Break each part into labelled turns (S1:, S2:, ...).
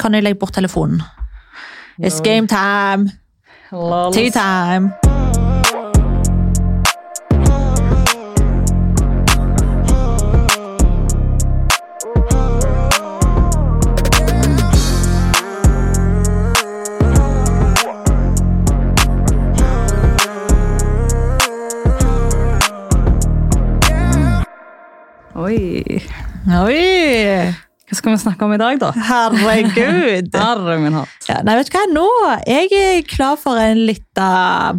S1: kan jeg legge bort telefonen. It's game time!
S2: Lol.
S1: Tea time!
S2: Oi.
S1: Oi!
S2: Hva skal vi snakke om i dag, da?
S1: Herregud!
S2: Herre min hatt.
S1: Ja, nei, vet du hva? Nå jeg er klar for en lita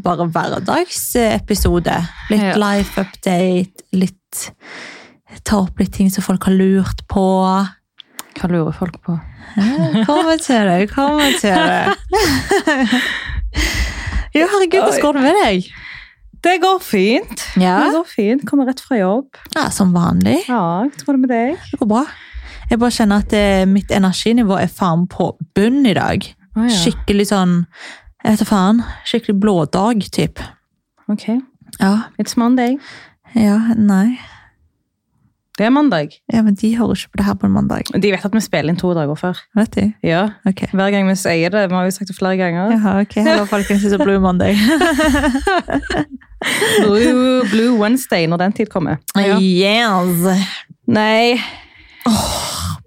S1: bare hverdagsepisode. Litt
S2: Ja.
S1: life update, litt ta opp litt ting som folk har lurt på.
S2: Hva lurer folk på?
S1: Ja, Kommer til det, kommer til det. Ja, herregud, hvordan går det med deg?
S2: Det går fint.
S1: Ja.
S2: Det går fint. Kommer rett fra jobb.
S1: ja, Som vanlig.
S2: Ja, jeg tror det med deg.
S1: Det går bra. Jeg bare kjenner at eh, mitt energinivå er faen på bunn i dag.
S2: Å, ja.
S1: Skikkelig sånn Jeg vet da faen. Skikkelig blådag, type.
S2: Ok.
S1: Ja.
S2: It's Monday.
S1: Ja, nei.
S2: Det er mandag.
S1: Ja, men de hører ikke på det her på en mandag.
S2: De vet at vi spiller inn to dager før.
S1: Vet de?
S2: Ja.
S1: Ok.
S2: Hver gang vi sier det. Vi har jo sagt det flere ganger.
S1: Jaha, ok. Hallo, folkens. Det er Blue Monday.
S2: Blue, Blue Wednesday når den tid kommer.
S1: Yes!
S2: Nei.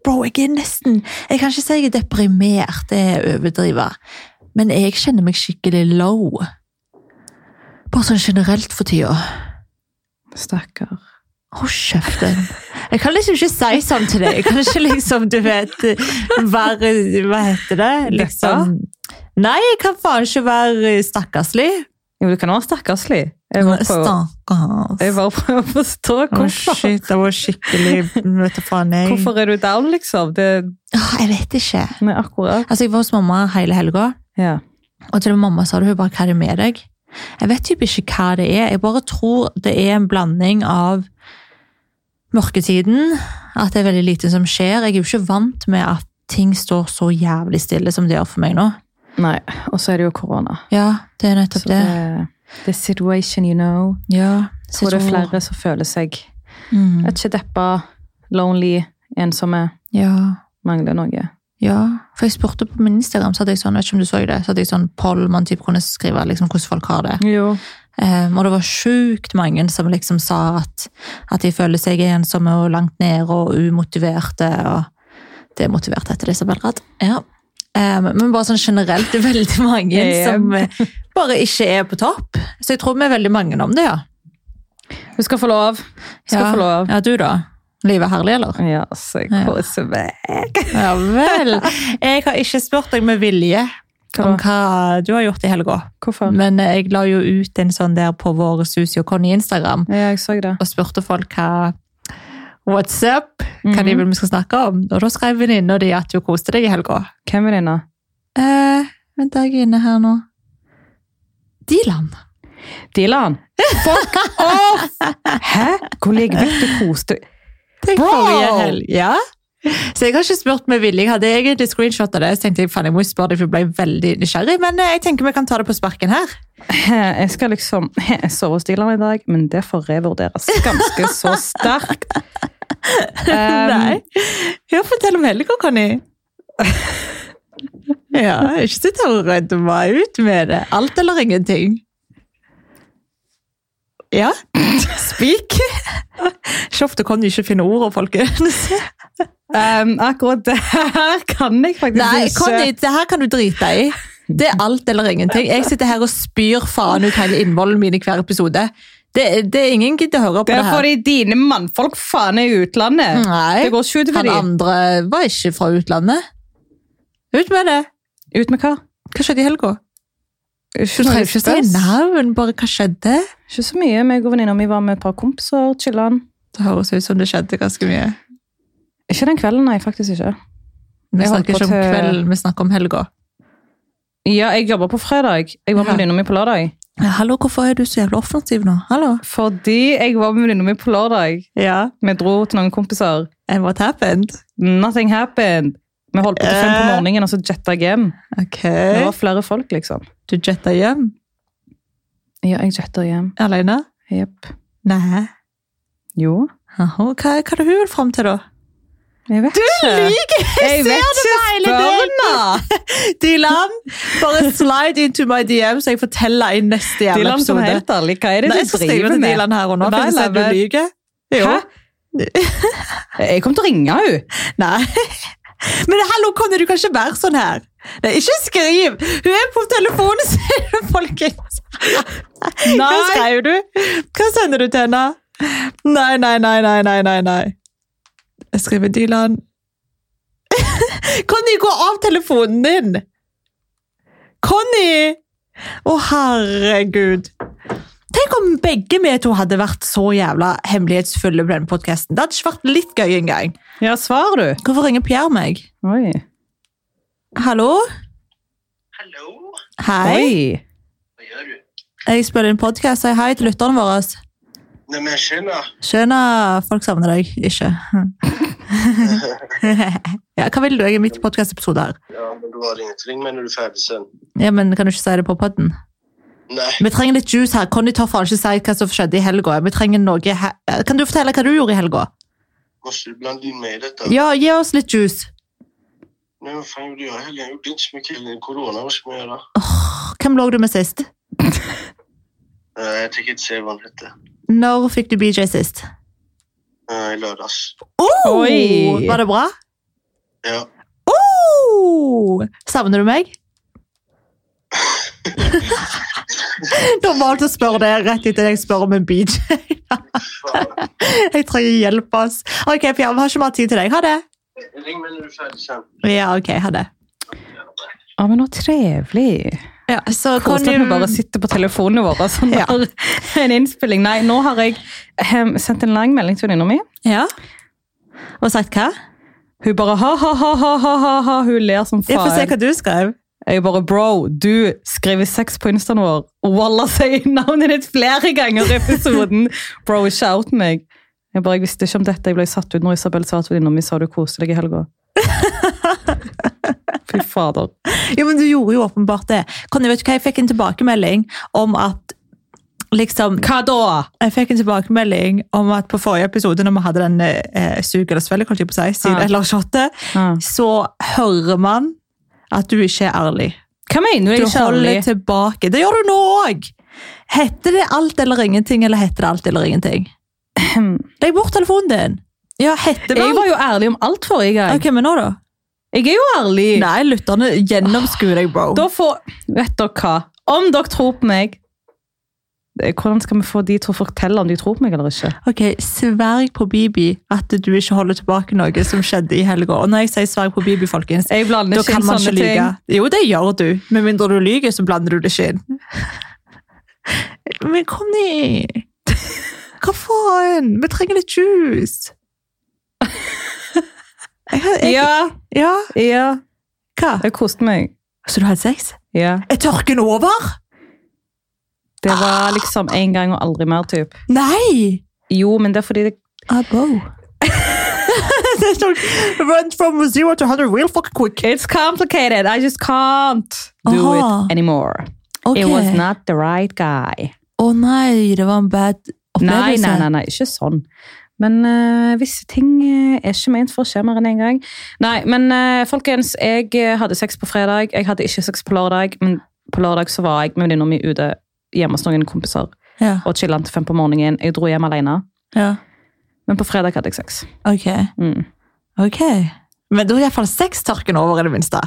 S1: Bro, jeg er nesten Jeg kan ikke si jeg er deprimert, det er å overdrive. Men jeg kjenner meg skikkelig low. Bare sånn generelt for tida.
S2: Stakkar.
S1: Å, kjeften. Jeg kan liksom ikke si sånn til deg. Jeg kan ikke liksom, du vet Være Hva heter det? Liksom Nei, jeg kan faen ikke være stakkarslig.
S2: Jo, du kan være stakkarslig. Jeg bare prøver-
S1: Stakkars.
S2: jeg bare prøver å forstå
S1: Å,
S2: hvorfor.
S1: shit, det var skikkelig vet du faen, jeg.
S2: Hvorfor er du down, liksom? Det
S1: Åh, jeg vet ikke.
S2: Nei, akkurat.
S1: Altså, jeg var hos mamma hele helga,
S2: Ja.
S1: og til og med mamma sa det, hun bare, hva er det med deg? Jeg vet typ ikke hva det er. Jeg bare tror det er en blanding av mørketiden, at det er veldig lite som skjer. Jeg er jo ikke vant med at ting står så jævlig stille som det gjør for meg nå.
S2: Nei, og så er det jo korona.
S1: Ja, det er nettopp
S2: Så
S1: det.
S2: det, the situation, you know.
S1: Ja,
S2: Jeg tror det er flere som føler seg
S1: Mm,
S2: vet ikke deppa, lonely, ensomme,
S1: ja,
S2: mangler noe.
S1: ja. For jeg spurte på min Instagram, så hadde jeg sånn, vet ikke om du så det, så hadde jeg sånn poll man typ kunne skrive liksom, hvordan folk har det.
S2: Jo.
S1: Um, og det var sjukt mange som liksom sa at, at de føler seg ensomme og langt nede og umotiverte. Og det er motivert etter det, Isabel Rad. Ja. Um, men bare sånn generelt det er veldig mange
S2: Ja.
S1: som eh, bare ikke er på topp. Så jeg tror vi er veldig mange om det, ja.
S2: Du skal få lov. Du skal
S1: ja.
S2: få lov.
S1: Ja, du da? Livet er herlig, eller?
S2: Ja, så jeg
S1: Ja.
S2: koser meg.
S1: Ja vel. Jeg har ikke spurt deg med vilje om
S2: Hva da?
S1: hva du har gjort i helga.
S2: Hvorfor?
S1: Men eh, jeg la jo ut en sånn der på vår Susi og Conny Instagram.
S2: Ja, jeg så det.
S1: og spurte folk hva What's up? Hva de
S2: Mhm.
S1: vil vi skal snakke om? Og da skrev venninna di at hun koste deg i helga.
S2: Hvem er denne?
S1: Eh, vent, jeg er inne her nå. Dilan.
S2: Dylan. Fuck off! Hæ? Hvor ligger vekk du koste?
S1: Tenk
S2: Bro!
S1: forrige helg. Ja. Så jeg har ikke spurt med vilje. Hadde jeg egentlig screenshotet det, så tenkte jeg faen, jeg må jo spørre deg, for jeg ble veldig nysgjerrig. Men eh, jeg tenker vi kan ta det på sparken her.
S2: Jeg skal liksom jeg sover hos Dylan i dag, men det får revurderes ganske så sterkt. Um,
S1: Nei. Ja, fortell om helga, Conny. ja, ikke sitt her og redde meg ut med det. Alt eller ingenting. Ja, speak. Ikke ofte kan du ikke finne ord, folkens.
S2: Um, akkurat det her kan jeg faktisk
S1: Nei,
S2: ikke.
S1: Conny, det her kan du drite i. Det er alt eller ingenting. Jeg sitter her og spyr faen ut hele innvollen min i hver episode. Det, det er ingen gidder å høre på
S2: Det
S1: det,
S2: er
S1: her.
S2: fordi dine mannfolk faen er i utlandet.
S1: Nei,
S2: Det går ikke ut
S1: Han
S2: med de.
S1: andre var ikke fra utlandet. Ut med det.
S2: Ut med hva?
S1: Hva skjedde i helga?
S2: Ikke,
S1: Du
S2: noe
S1: trenger ikke si
S2: spes.
S1: navn, bare hva skjedde?
S2: ikke så mye. Meg og venninna mi var med et par kompiser, chillan.
S1: Det høres ut som det skjedde ganske mye.
S2: Ikke den kvelden, nei, faktisk ikke.
S1: Vi
S2: Jeg holdt
S1: snakker
S2: på
S1: ikke om
S2: til-
S1: kvelden, vi snakker om helga.
S2: Ja, jeg jobba på fredag. Jeg var med
S1: Ja.
S2: venninna mi på lørdag.
S1: Ja, hallo, hvorfor er du så jævla offensiv nå? Hallo?
S2: Fordi jeg var med venninna mi på lørdag.
S1: Ja,
S2: Vi dro til noen kompiser.
S1: and what happened?
S2: Nothing happened. Vi holdt på til fem på
S1: Eh.
S2: morgenen, og så jetta jeg hjem.
S1: Ok,
S2: Det var flere folk, liksom.
S1: du jetta hjem
S2: Ja, jeg jetter hjem.
S1: alene?
S2: Jepp.
S1: Nei.
S2: Jo.
S1: Jaha, Hva, hva er det hun vil frem til da?
S2: Jeg vet ikke.
S1: Lyger!
S2: Jeg vet ikke, spør
S1: meg! Dylan, bare slide into my DM, så jeg forteller i neste jævla
S2: Dylan som
S1: episode.
S2: er helt ærlig, hva er det
S1: Nei, jeg
S2: du
S1: skal skrive
S2: driver
S1: til
S2: med?
S1: Dylan her og nå,
S2: Nei,
S1: for jeg
S2: nei,
S1: ser du
S2: men-
S1: lyger.
S2: Hæ? Jeg kommer til å ringe henne.
S1: Nei. Men hallo, Conny, du kan ikke være sånn her. Nei, ikke skriv! Hun er på telefonen sin, folkens! Hva
S2: Nei.
S1: skrev du? Hva sender du til henne? Nei, nei, nei, nei, nei, nei. nei. Jeg skriver Dylan. Conny, gå av telefonen din! Conny! Å, herregud. Tenk om begge vi to hadde vært så jævla hemmelighetsfulle på denne podkasten. Det hadde ikke vært litt gøy engang.
S2: Ja, svar du.
S1: Hvorfor ringer Pierre meg?
S2: Oi.
S1: Hallo?
S3: Hallo,
S1: Hei.
S2: Oi.
S3: hva gjør du?
S1: Jeg spiller inn podkast. Si hei til lytterne våre.
S3: Nei, men jeg skjønner.
S1: Skjønner folk savner deg ikke. ja, hva vil du? Jeg er midt i podkastepisode her.
S3: Ja, men du har ingenting. Ring meg når du er ferdig sen.
S1: Ja, men Kan du ikke si det på podden?
S3: Nei,
S1: Vi trenger litt juice her. Conny tør faen ikke si hva som skjedde i helga. Vi trenger noe he Eh, kan du fortelle hva du gjorde i helga?
S3: må ikke du blande inn meg i dette?
S1: Ja, gi oss litt juice.
S3: Nei, hva faen gjorde jeg i helgen? Jeg gjorde ikke så mye i helgen. Korona, hva skal man gjøre?
S1: Åh, Hvem lå du med sist?
S3: Nei, Eh, jeg tenker ikke se hva han heter.
S1: Når fikk du BJ sist?
S3: Nei, Eh, i lørdags.
S1: Oh,
S2: Oi.
S1: Var det bra?
S3: Ja.
S1: Oh, savner du meg? Normalt å spørre det rett etter jeg spør om en BJ.
S3: Faen.
S1: Jeg trenger hjelp, ass. Ok, Pia, vi har ikke mer tid til deg. Ha det.
S3: Ring meg når du er ferdig sen.
S1: Ja, ok, ha det.
S2: Ja, men nå trevlig.
S1: Ja, så
S2: Koselig at vi bare sitter på telefonene våre og sånn
S1: Ja.
S2: har en innspilling. Nei, nå har jeg ehm, sendt en lang melding til venninna mi.
S1: Ja. Og sagt hva?
S2: Hun bare ha-ha-ha-ha-ha, hun ler som
S1: Jeg får se
S2: faen.
S1: hva du skrev.
S2: Jeg bare bro, du skriver sex på instaen vår. Walla sier navnet ditt flere ganger i episoden. Bro, ikke out meg. Jeg bare, jeg visste ikke om dette. Jeg ble satt ut når Isabel sa at venninna mi sa du koste deg i helga. Fy fader.
S1: Jo, men du gjorde jo åpenbart det. Conny, vet du hva? Jeg fikk en tilbakemelding om at liksom,
S2: Hva da?
S1: Jeg fikk en tilbakemelding om at på forrige episode, når vi hadde den eh, sug eller svelg, holdt jeg på å si, siden,
S2: Ja.
S1: eller shottet,
S2: Ja.
S1: så hører man at du ikke er ærlig.
S2: Hva mener
S1: Du
S2: du? Jeg er ikke
S1: holder
S2: ærlig.
S1: tilbake. Det gjør du nå òg! Heter det alt eller ingenting, eller heter det alt eller ingenting? Legg bort telefonen din! Ja, heter det
S2: Jeg
S1: alt?
S2: var jo ærlig om alt forrige gang.
S1: Ok, men nå, da?
S2: Jeg er jo ærlig.
S1: Nei, lytterne gjennomskuer deg, bro.
S2: Da får Vet dere hva? Om dere tror på meg det- Hvordan skal vi få de til å fortelle om de tror på meg eller ikke?
S1: Ok, Sverg på Bibi at du ikke holder tilbake noe som skjedde i helga. Og når jeg sier sverg på Bibi, folkens,
S2: Jeg blander
S1: da
S2: ikke inn
S1: kan man ikke
S2: sånne ting.
S1: lyge. Jo, det gjør du. Med mindre du lyver, så blander du det ikke inn. Men Conny Hva faen? Vi trenger litt juice. Jeg, har- jeg,
S2: Ja,
S1: ja.
S2: ja.
S1: Hva?
S2: Jeg koste meg.
S1: Så du hadde sex?
S2: Ja.
S1: Er tørken over?
S2: Det
S1: Ah.
S2: var liksom en gang og aldri mer, typ.
S1: Nei!
S2: Jo, men det er fordi det
S1: Abo. Det står Run from zero to hundred real fucking quick.
S2: It's complicated. I just can't do
S1: Aha.
S2: it anymore.
S1: Ok.
S2: It
S1: Å
S2: was not the right guy.
S1: nei, det var en bad
S2: Nei,
S1: opplevelse.
S2: nei, nei, nei, ikke sånn. Men eh, visse ting eh, er ikke ment for å skje mer enn en gang. Nei, men eh, folkens, jeg eh, hadde sex på fredag. Jeg hadde ikke sex på lørdag, men på lørdag så var jeg med venninna mi ute hjemme hos noen kompiser
S1: Ja,
S2: og chilla til fem på morgenen. Jeg dro hjem alene,
S1: ja.
S2: men på fredag hadde jeg sex.
S1: Ok.
S2: Mm.
S1: ok. Men da er iallfall sextørken over, i det minste.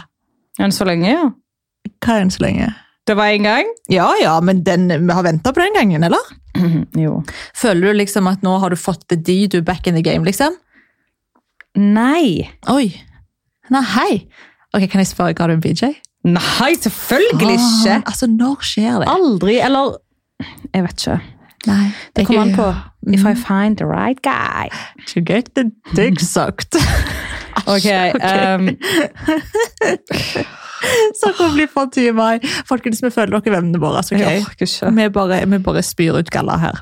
S2: Enn så lenge, ja.
S1: Hva enn så lenge?
S2: Det var en gang.
S1: Ja, ja, men den, vi har venta på den gangen, eller?
S2: jo.
S1: Føler du liksom at nå har du fått det de du er back in the game, liksom?
S2: Nei.
S1: Oi. Nei, hei. Ok, Kan jeg spørre, ga du en BJ?
S2: Nei, selvfølgelig ikke.
S1: Faen, altså, når skjer det?
S2: Ah. Aldri, eller Jeg vet ikke.
S1: Nei,
S2: Det kommer an på. If I
S1: Mm.
S2: find the right guy.
S1: To get the dick sucked. eh.
S2: Ok, ehm,
S1: Så kan det bli for 10. mai. Folkens, vi føler dere vennene våre. altså,
S2: Jeg
S1: ok?
S2: orker ikke.
S1: Vi bare, vi bare spyr ut galla her.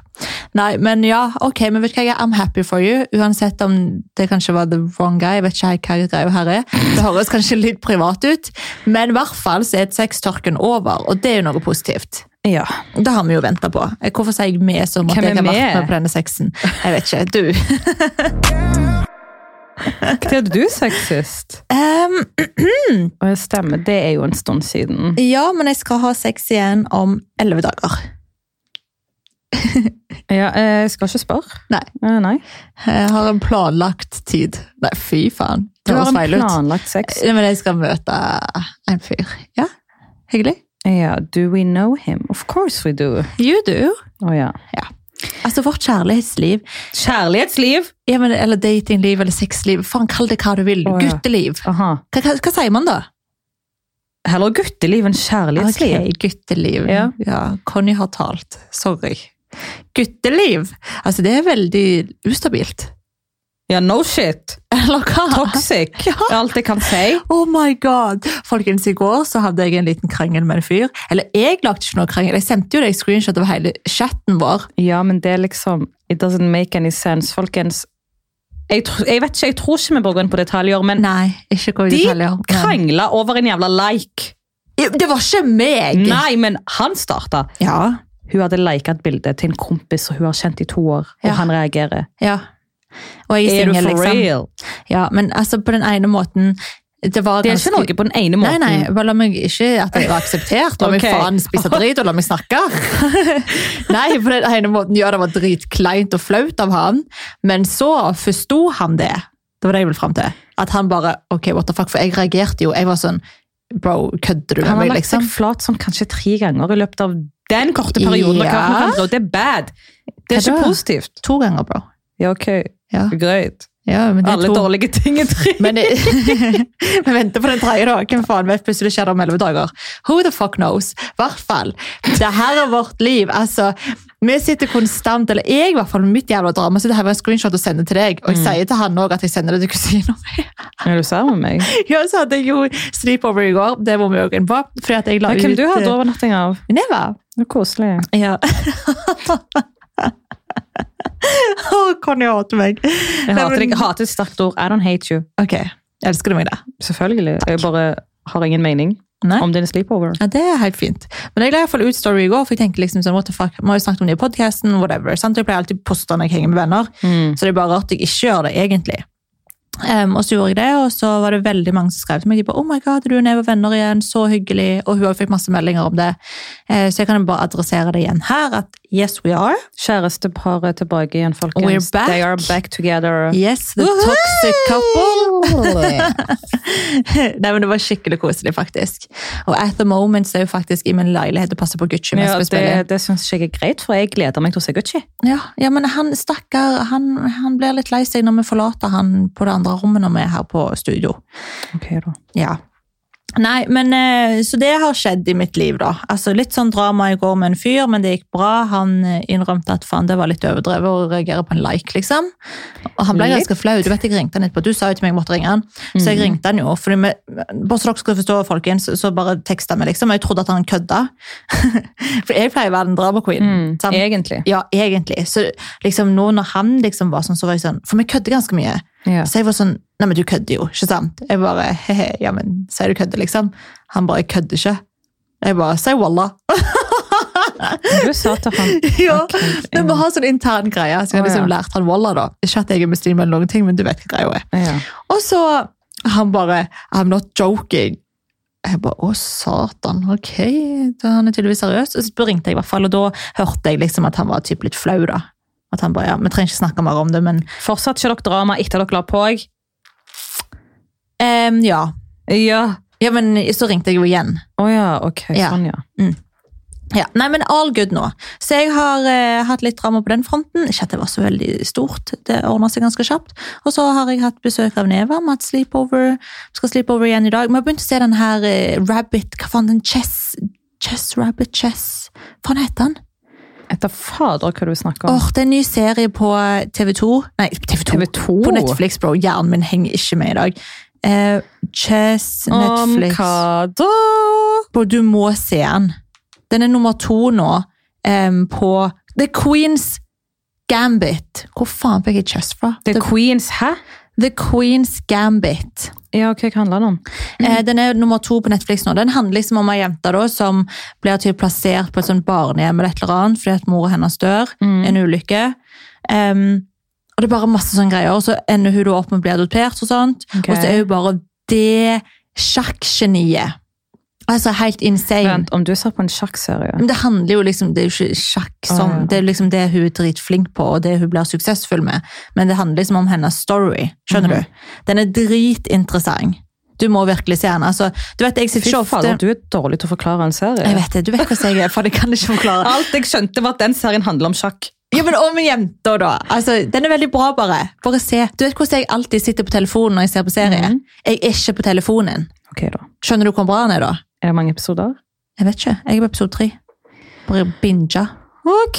S1: Nei, men ja, ok, men vet du hva, jeg er I'm happy for you. Uansett om det kanskje var the wrong guy, jeg vet ikke helt hva greia her er. Det høres kanskje litt privat ut, men i hvert fall så er sextørken over, og det er jo noe positivt.
S2: Ja.
S1: Det har vi jo venta på. Hvorfor sier jeg vi som at
S2: Hvem er
S1: jeg har vært
S2: vi?
S1: med på denne sexen? Jeg vet ikke. Du.
S2: Når hadde du sex sist?
S1: Ehm,
S2: Å, ja, stemmer. Det er jo en stund siden.
S1: ja, men jeg skal ha sex igjen om elleve dager.
S2: Ja, eh, jeg skal ikke spørre.
S1: Nei.
S2: Eh, Nei.
S1: Jeg har en planlagt tid. Nei, fy faen.
S2: Du
S1: Det
S2: har
S1: høres
S2: en
S1: feil ut.
S2: planlagt sex.
S1: Nei, Men jeg skal møte en fyr. Ja, hyggelig.
S2: Ja, do we know him? Of course we do.
S1: You do.
S2: Å ja.
S1: Altså, vårt kjærlighetsliv
S2: Kjærlighetsliv!
S1: ja, men, Eller datingliv eller sexliv. Faen, kall det hva du vil.
S2: Å, ja.
S1: Gutteliv.
S2: Aha.
S1: Hva, hva, hva sier man da?
S2: Heller gutteliv enn kjærlighetsliv.
S1: Ok, gutteliv.
S2: Ja.
S1: Ja. Conny har talt. Sorry. Gutteliv! Altså, det er veldig ustabilt.
S2: Ja, no shit!
S1: Eller hva?
S2: Toxic!
S1: Ja.
S2: er Alt jeg kan si.
S1: Oh my god! Folkens, i går så hadde jeg en liten krangel med en fyr. Eller jeg lagde ikke noe krangel. Jeg sendte jo deg screenshot av hele chatten vår.
S2: Ja, men det er liksom It doesn't make any sense, folkens. Jeg, tr jeg vet ikke, jeg tror ikke vi bør gå inn på detaljer, men
S1: Nei, ikke gå i
S2: De
S1: detaljer. Men-
S2: krangla over en jævla like.
S1: Det var ikke meg!
S2: Nei, men han starta.
S1: Ja,
S2: Hun hadde liket et bilde til en kompis som hun har kjent i to år,
S1: Ja.
S2: og han reagerer.
S1: ja. Og jeg er
S2: Er du
S1: singel,
S2: for
S1: liksom.
S2: real?
S1: Ja, men altså, på den ene måten Det var
S2: Det er ikke noe på den
S1: Nei,
S2: ene måten.
S1: nei, bare la meg ikke at jeg var akseptert. La meg
S2: Ok.
S1: faen spise drit og la meg snakke. Nei, på den ene måten, ja, det var dritkleint og flaut av han, men så forsto han det. Det var det jeg ville fram til. At han bare Ok, what the fuck? For jeg reagerte jo. Jeg var sånn Bro, kødder du
S2: Han
S1: med
S2: har
S1: meg,
S2: lagt seg
S1: liksom?
S2: flat sånn kanskje tre ganger i løpet av den korte
S1: Ja.
S2: perioden. av kampen, kanskje, og Det er bad.
S1: Hva
S2: Det er ikke
S1: da?
S2: positivt.
S1: To ganger, bro.
S2: Ja, ok.
S1: Ja,
S2: Greit.
S1: ja men det er
S2: Alle
S1: to.
S2: dårlige ting er tre.
S1: Men vi venter på den tredje da. Hvem faen vet plutselig skjer det om elleve dager? Who the fuck knows? I hvert fall. Det her er vårt liv. Altså, vi sitter konstant, eller jeg i hvert fall, med mitt jævla drama, sitter her med en screenshot og sender til deg.
S2: Mm.
S1: Og jeg sier til han òg at jeg sender det til kusina mi.
S2: Er du sær med meg?
S1: Ja, så hadde jeg jo sleepover i går. Det må vi òg inn på. Fordi at jeg la
S2: Ja,
S1: ut
S2: hvem du hadde
S1: eh,
S2: overnatting av?
S1: Neva.
S2: Det er koselig.
S1: Ja. Å, Conny hater meg.
S2: Jeg hater deg. Jeg Hater et sterkt ord. I don't hate you.
S1: Ok. Elsker du meg, da?
S2: Selvfølgelig. Jeg bare har ingen mening
S1: Nei.
S2: om din sleepover.
S1: Ja, det er helt fint. Men jeg la i hvert fall ut story i går, for jeg tenkte liksom sånn, what the fuck, vi har jo snakket om det i podcasten, whatever, sant? Jeg pleier alltid å poste når jeg henger med venner, så det er bare rart jeg ikke gjør det, egentlig. Em, og så gjorde jeg det, og så var det veldig mange som skrev til meg, de bare, oh my god, du og Neva er venner igjen, så hyggelig, og hun også fikk masse meldinger om det. Eh, så jeg kan jo bare adressere det igjen her, at yes we are,
S2: Kjæresteparet tilbake igjen, folkens.
S1: We're back.
S2: They are back together.
S1: yes, the
S2: Woohoo!
S1: toxic couple. Nei, men det var skikkelig koselig, faktisk. Og at the moment så er hun faktisk i min leilighet og passer på Gucci mens
S2: Ja,
S1: vi spiller.
S2: det det syns jeg er greit, for jeg gleder meg til å se Gucci.
S1: Ja, ja men han stakkar, han, han blir litt lei seg når vi forlater han på det andre rommet når vi er her på studio.
S2: Ok, da.
S1: Ja. Nei, men eh, Så det har skjedd i mitt liv, da. Altså Litt sånn drama i går med en fyr, men det gikk bra. Han eh, innrømte at faen, det var litt overdrevet å reagere på en like, liksom. Og han ble
S2: Litt.
S1: ganske flau. Du vet, jeg ringte han etterpå. Du sa jo til meg jeg måtte ringe han, så jeg ringte han jo. Fordi vi, bare så dere skal forstå, folkens, så bare teksta vi, liksom. Og jeg trodde at han kødda. For jeg pleier å være den drama queen. sant?
S2: Mm, Egentlig.
S1: Ja, egentlig. Så liksom nå når han liksom var sånn, så var jeg sånn For vi kødder ganske mye.
S2: Ja.
S1: Så jeg var sånn Nei, men du kødder jo, ikke sant? Jeg bare he-he, ja, men sier du kødder, liksom? Han bare jeg kødder ikke. Jeg bare sier wallah.
S2: Du sa til han
S1: ja.
S2: Ok, ja.
S1: Vi må ha sånn intern greie. Så jeg har
S2: Å, ja.
S1: liksom lært han wallah, da. Ikke at jeg er muslim eller noen ting, men du vet hva greia er.
S2: ja.
S1: Og så han bare I'm not joking. Jeg bare, Å, satan, ok. Da han er tydeligvis seriøs. Og så ringte jeg, i hvert fall, og da hørte jeg liksom at han var typ litt flau. da. At han bare, ja, Vi trenger ikke snakke mer om det, men
S2: Fortsatt ikke dere drama etter dere la på? jeg?
S1: ehm, ja.
S2: Ja.
S1: ja. Men så ringte jeg jo igjen.
S2: Å ja, ok.
S1: Ja.
S2: Sånn, ja.
S1: Ja, Nei, men all good nå. Så jeg har eh, hatt litt drama på den fronten. Ikke at det var så veldig stort. Det ordna seg ganske kjapt. Og så har jeg hatt besøk av Neva. Vi har hatt sleepover. Vi skal sleepover igjen i dag. Vi har begynt å se den her eh, rabbit Hva faen, den chess Chess Rabbit Chess Hva faen heter den?
S2: Etter fader hva du snakker
S1: Åh,
S2: om.
S1: Det er en ny serie på eh, TV2 Nei, TV2.
S2: TV 2.
S1: På Netflix, bro. Hjernen min henger ikke med i dag. Eh, chess
S2: Om
S1: Netflix
S2: hva da?
S1: Bro, du må se den. Den er nummer to nå em, på The Queen's Gambit. Hvor faen fikk jeg chess fra?
S2: The Queens, hæ?
S1: The Queen's Gambit.
S2: Ja, ok, hva handler det om?
S1: Eh, Den er nummer to på Netflix nå. Den handler liksom om ei jente da, som blir typ plassert
S2: Mhm.
S1: på et sånt barnehjem eller et eller annet, fordi at mor hennes dør. En ulykke. Em, Og det er bare masse sånne greier, og så ender hun da opp med å bli adoptert og sånt.
S2: Ok.
S1: Og så er hun bare det sjakkgeniet. Altså helt insane.
S2: Vent, om du ser på en sjakkserie
S1: Men det handler jo liksom, det er jo ikke sjakk
S2: Ah,
S1: sånn,
S2: ja.
S1: det er liksom det hun er dritflink på, og det hun blir suksessfull med, men det handler liksom om hennes story, skjønner
S2: Mhm.
S1: du? Den er dritinteressant. Du må virkelig se den. Altså, du vet, jeg sitter
S2: Fy
S1: ikke
S2: fader,
S1: ofte...
S2: du er dårlig til å forklare en serie.
S1: Jeg vet det, du vet hvordan jeg er, for det kan jeg ikke forklare.
S2: Alt jeg skjønte, var at den serien handler om sjakk.
S1: Ja, men om jenter da. Altså, den er veldig bra bare. Bare se. Du vet hvordan jeg alltid sitter på telefonen når jeg ser på serie?
S2: Mhm.
S1: Jeg er ikke på telefonen.
S2: Ok, da.
S1: Skjønner du hvor bra den er da?
S2: Er det mange episoder?
S1: Jeg vet ikke. Jeg er på episode 3. Bare binja.
S2: Ok!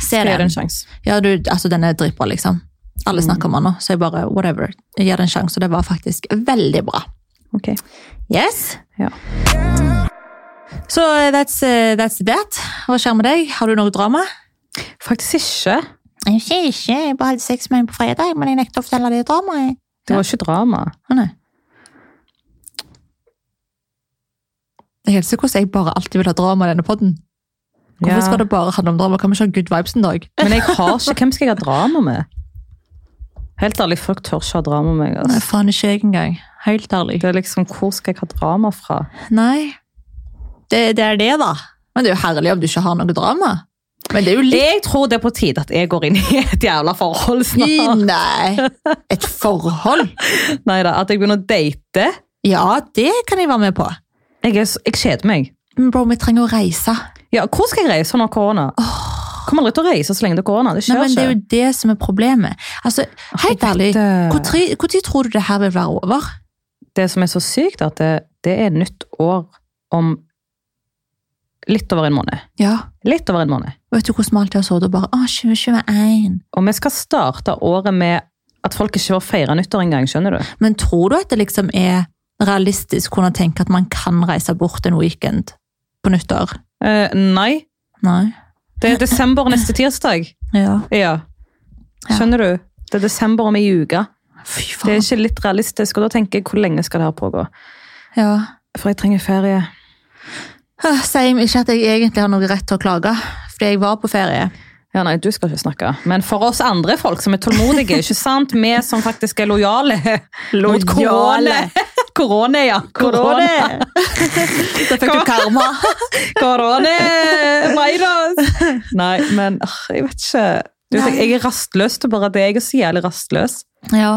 S1: Se
S2: Gi det
S1: den.
S2: en sjanse.
S1: Ja, du, altså den er dritbra liksom. Alle snakker om den nå, så jeg bare, whatever. Jeg gir den en sjanse, og det var faktisk veldig bra.
S2: Ok.
S1: Yes?
S2: Ja.
S1: Så eh, that's, eh, that's that. Hva skjer med deg? Har du noe drama?
S2: Faktisk ikke.
S1: Jeg sier ikke. Jeg bare hadde sex med en på fredag, men jeg nekter å fortelle det dramaet.
S2: Det var ikke drama.
S1: Å nei. Jeg helser hvordan jeg bare alltid vil ha drama i denne podden. Hvorfor
S2: Ja.
S1: skal det bare handle om drama? Kan vi ikke ha good vibes en dag?
S2: Men jeg har ikke, hvem skal jeg ha drama med? Helt ærlig, folk tør ikke ha drama med meg.
S1: Nei,
S2: Altså.
S1: faen ikke jeg engang. Helt ærlig.
S2: Det er liksom, Hvor skal jeg ha drama fra?
S1: Nei. Det, det er det, da. Men det er jo herlig om du ikke har noe drama. Men det er jo litt
S2: Jeg tror det er på tide at jeg går inn i et jævla forhold snart.
S1: Nei! Et forhold?
S2: Neida, at jeg begynner å date.
S1: Ja, det kan jeg være med på.
S2: Jeg, er, så- jeg kjeder meg.
S1: Men bro, vi trenger å reise.
S2: Ja, Hvor skal jeg reise når korona? Kommer aldri til å reise så lenge det er korona. Det
S1: Nei,
S2: skjer
S1: men Det er
S2: ikke.
S1: jo det som er problemet. Altså, Helt ærlig,
S2: det,
S1: når tror du det her vil være over?
S2: det som er så sykt, er at det, det er nytt år om litt over en måned.
S1: Ja.
S2: Litt over en måned.
S1: Vet du hvordan vi alltid har sittet og bare Å, 2021.
S2: Og vi skal starte året med at folk ikke får feire nyttår engang, skjønner du?
S1: Men tror du at det liksom er realistisk å kunne tenke at man kan reise bort en weekend på nyttår?
S2: Eh, nei.
S1: Nei.
S2: Det er desember neste tirsdag.
S1: Ja.
S2: Ja.
S1: Ja.
S2: Skjønner du? Det er desember om ei uke.
S1: Fy
S2: Det er
S1: faen.
S2: ikke litt realistisk, og da tenker jeg hvor lenge skal det her pågå?
S1: Ja.
S2: For jeg trenger ferie.
S1: Ah, Same. Ikke at jeg egentlig har noe rett til å klage, fordi jeg var på ferie.
S2: Ja, nei, du skal ikke snakke. Men for oss andre folk som er tålmodige, ikke sant? Vi som faktisk er lojale mot korona. Korona, ja. Korona.
S1: Korona! Da fikk du karma.
S2: Korona. Virus. Nei, men åh, jeg vet ikke. Du, vet,
S1: Nei.
S2: jeg er rastløs til bare det. Jeg er så jævlig rastløs.
S1: Ja.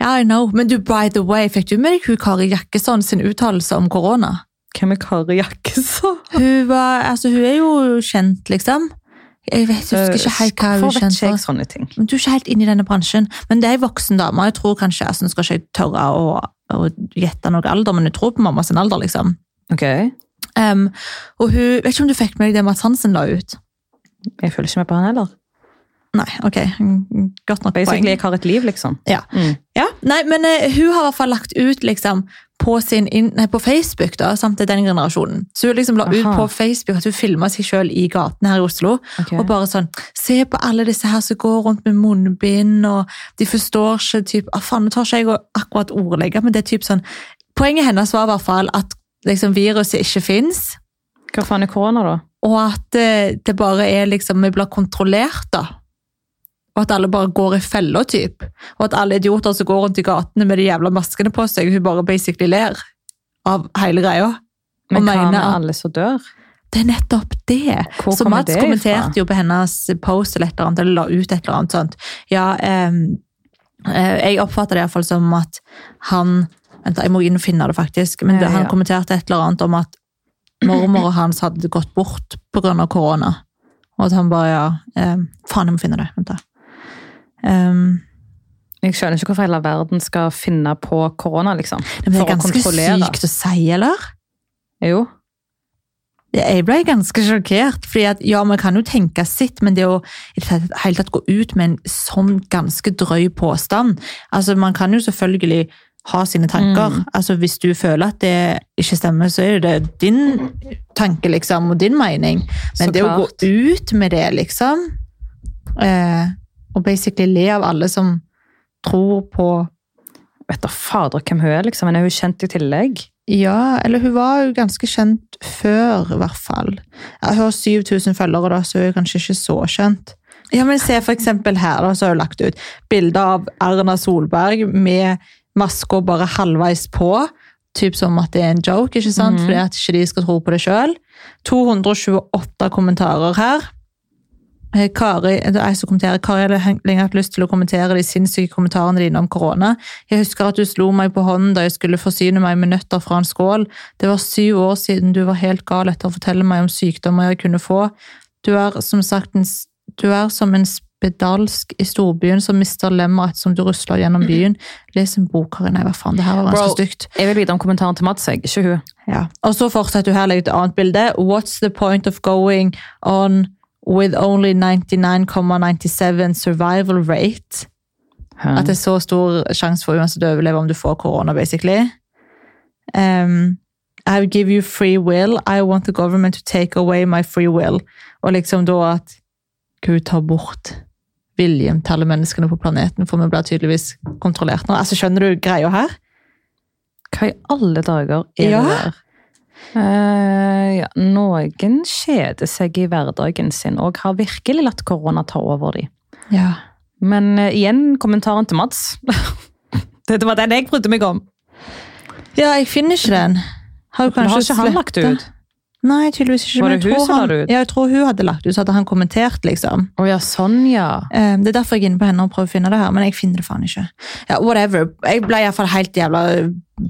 S1: Ja, I know. Men du, by the way, fikk du med deg hun Kari Jakkesson sin uttalelse om korona?
S2: Hvem er Kari Jakkesson?
S1: Hun, var, altså, hun er jo kjent, liksom. Jeg vet, jeg husker ikke helt hva hun er
S2: Hvorfor vet
S1: kjent
S2: ikke jeg
S1: for.
S2: sånne ting?
S1: Men Du er ikke helt inne i denne bransjen. Men det er en voksen dame. Jeg tror kanskje, altså, Nå skal ikke jeg tørre å, å gjette noe alder, men jeg tror på mamma sin alder, liksom.
S2: Ok, jeg
S1: Em, og hun, Vet ikke om du fikk med deg det Mads Hansen la ut?
S2: følger ikke med på han heller.
S1: Nei, ok. Mm, Godt nok
S2: Basically,
S1: poeng.
S2: jeg har et liv, liksom.
S1: Ja.
S2: Mm.
S1: Ja, nei, men eh, hun har i hvert fall lagt ut liksom, på, sin, inn- nei, på Facebook, da, samt til den generasjonen. Så hun liksom la ut
S2: Aha.
S1: på Facebook at hun filma seg sjøl i gatene her i Oslo.
S2: Ok.
S1: Og bare sånn Se på alle disse her som går rundt med munnbind, og de forstår ikke typ, ah, faen, Nå tar ikke jeg å akkurat ordlegge, men det er typ sånn Poenget hennes var i hvert fall at liksom, viruset ikke fins,
S2: Hva faen er korona, da?
S1: og at eh, det bare er liksom Vi blir kontrollert, da. Og at alle bare går i fella, typ. Og at alle idioter som går rundt i gatene med de jævla maskene på seg, hun bare basically ler av hele greia.
S2: Men
S1: Og
S2: hva
S1: mener
S2: med
S1: at-
S2: alle som dør?
S1: Det er nettopp det.
S2: Hvor
S1: så
S2: kommer
S1: Mads
S2: det ifra?
S1: kommenterte jo på hennes post eller et eller annet, eller la ut et eller annet sånt. Ja, ehm, eh, jeg oppfatter det iallfall som at han Vent, da, jeg må inn og finne det, faktisk. Men det,
S2: Ja, ja.
S1: han kommenterte et eller annet om at mormoren hans hadde gått bort pga. korona. Og at han bare ja, ehm, Faen, jeg må finne det. Vent, da. Ehm,
S2: Jeg skjønner ikke hvorfor hele verden skal finne på korona, liksom.
S1: men det
S2: For
S1: er
S2: å
S1: ganske
S2: kontrollere.
S1: sykt å si, eller?
S2: Jo.
S1: Jeg ble ganske sjokkert, fordi at ja, man kan jo tenke sitt, men det å i det hele tatt gå ut med en sånn ganske drøy påstand Altså, man kan jo selvfølgelig ha sine
S2: Mm.
S1: tanker. Altså, hvis du føler at det ikke stemmer, så er jo det din tanke, liksom, og din mening. Men
S2: Så
S1: det å
S2: klart.
S1: gå ut med det, liksom, eh, og basically le av alle som tror på
S2: Vet da fader hvem hun er, liksom. Men er hun kjent i tillegg?
S1: Ja, eller hun var jo ganske kjent før, i hvert fall. Ja, Hun har 7000 følgere, da, så hun er kanskje ikke så kjent. Ja, men se for eksempel her, da, så har hun lagt ut bilder av Erna Solberg med maska bare halvveis på. Typ som at det er en joke, ikke sant? Fordi at ikke de skal tro på det sjøl. 228 kommentarer her. Eh, Kari, det er jeg som kommenterer. Kari jeg har lenge hatt lyst til å kommentere de sinnssyke kommentarene dine om korona. Jeg husker at du slo meg på hånden da jeg skulle forsyne meg med nøtter fra en skål. Det var syv år siden du var helt gal etter å fortelle meg om sykdommer jeg kunne få. Du er som sagt en, s- du er som en spedalsk i storbyen som mister lemmet som du rusler gjennom byen. Les en bok, Karin. Nei, hva faen, det her var ganske
S2: Bro.
S1: stygt.
S2: Jeg vil vite om kommentaren til Mats, jeg. Ikke hun.
S1: Ja. Og så fortsetter du her legger et annet bilde. What's the point of going on with only 99,97 survival rate? At det er så stor sjanse for uansett å overleve om du får korona, basically. Um, I will give you free will. I want the government to take away my free will. Og liksom da at Gud tar bort viljen til alle menneskene på planeten, for vi blir tydeligvis kontrollert nå. Altså, skjønner du greia her?
S2: Hva i alle dager er
S1: Ja.
S2: det der? Eh, ja, noen kjeder seg i hverdagen sin og har virkelig latt korona ta over dem.
S1: Ja.
S2: Men eh, igjen kommentaren til Mats. Dette var den jeg brydde meg om.
S1: Ja, jeg finner ikke den. Har, du
S2: Men har
S1: kanskje
S2: ikke han lagt det
S1: slettet?
S2: ut?
S1: Nei, tydeligvis ikke.
S2: Var
S1: men
S2: det
S1: jeg
S2: hun
S1: tror
S2: som la
S1: han-
S2: det ut?
S1: Ja, jeg tror hun hadde lagt det ut, så hadde han kommentert, liksom.
S2: Å ja, sånn ja.
S1: Eh, Det er derfor jeg er inne på henne og prøver å finne det her, men jeg finner det faen ikke. Ja, whatever. Jeg ble i hvert fall helt jævla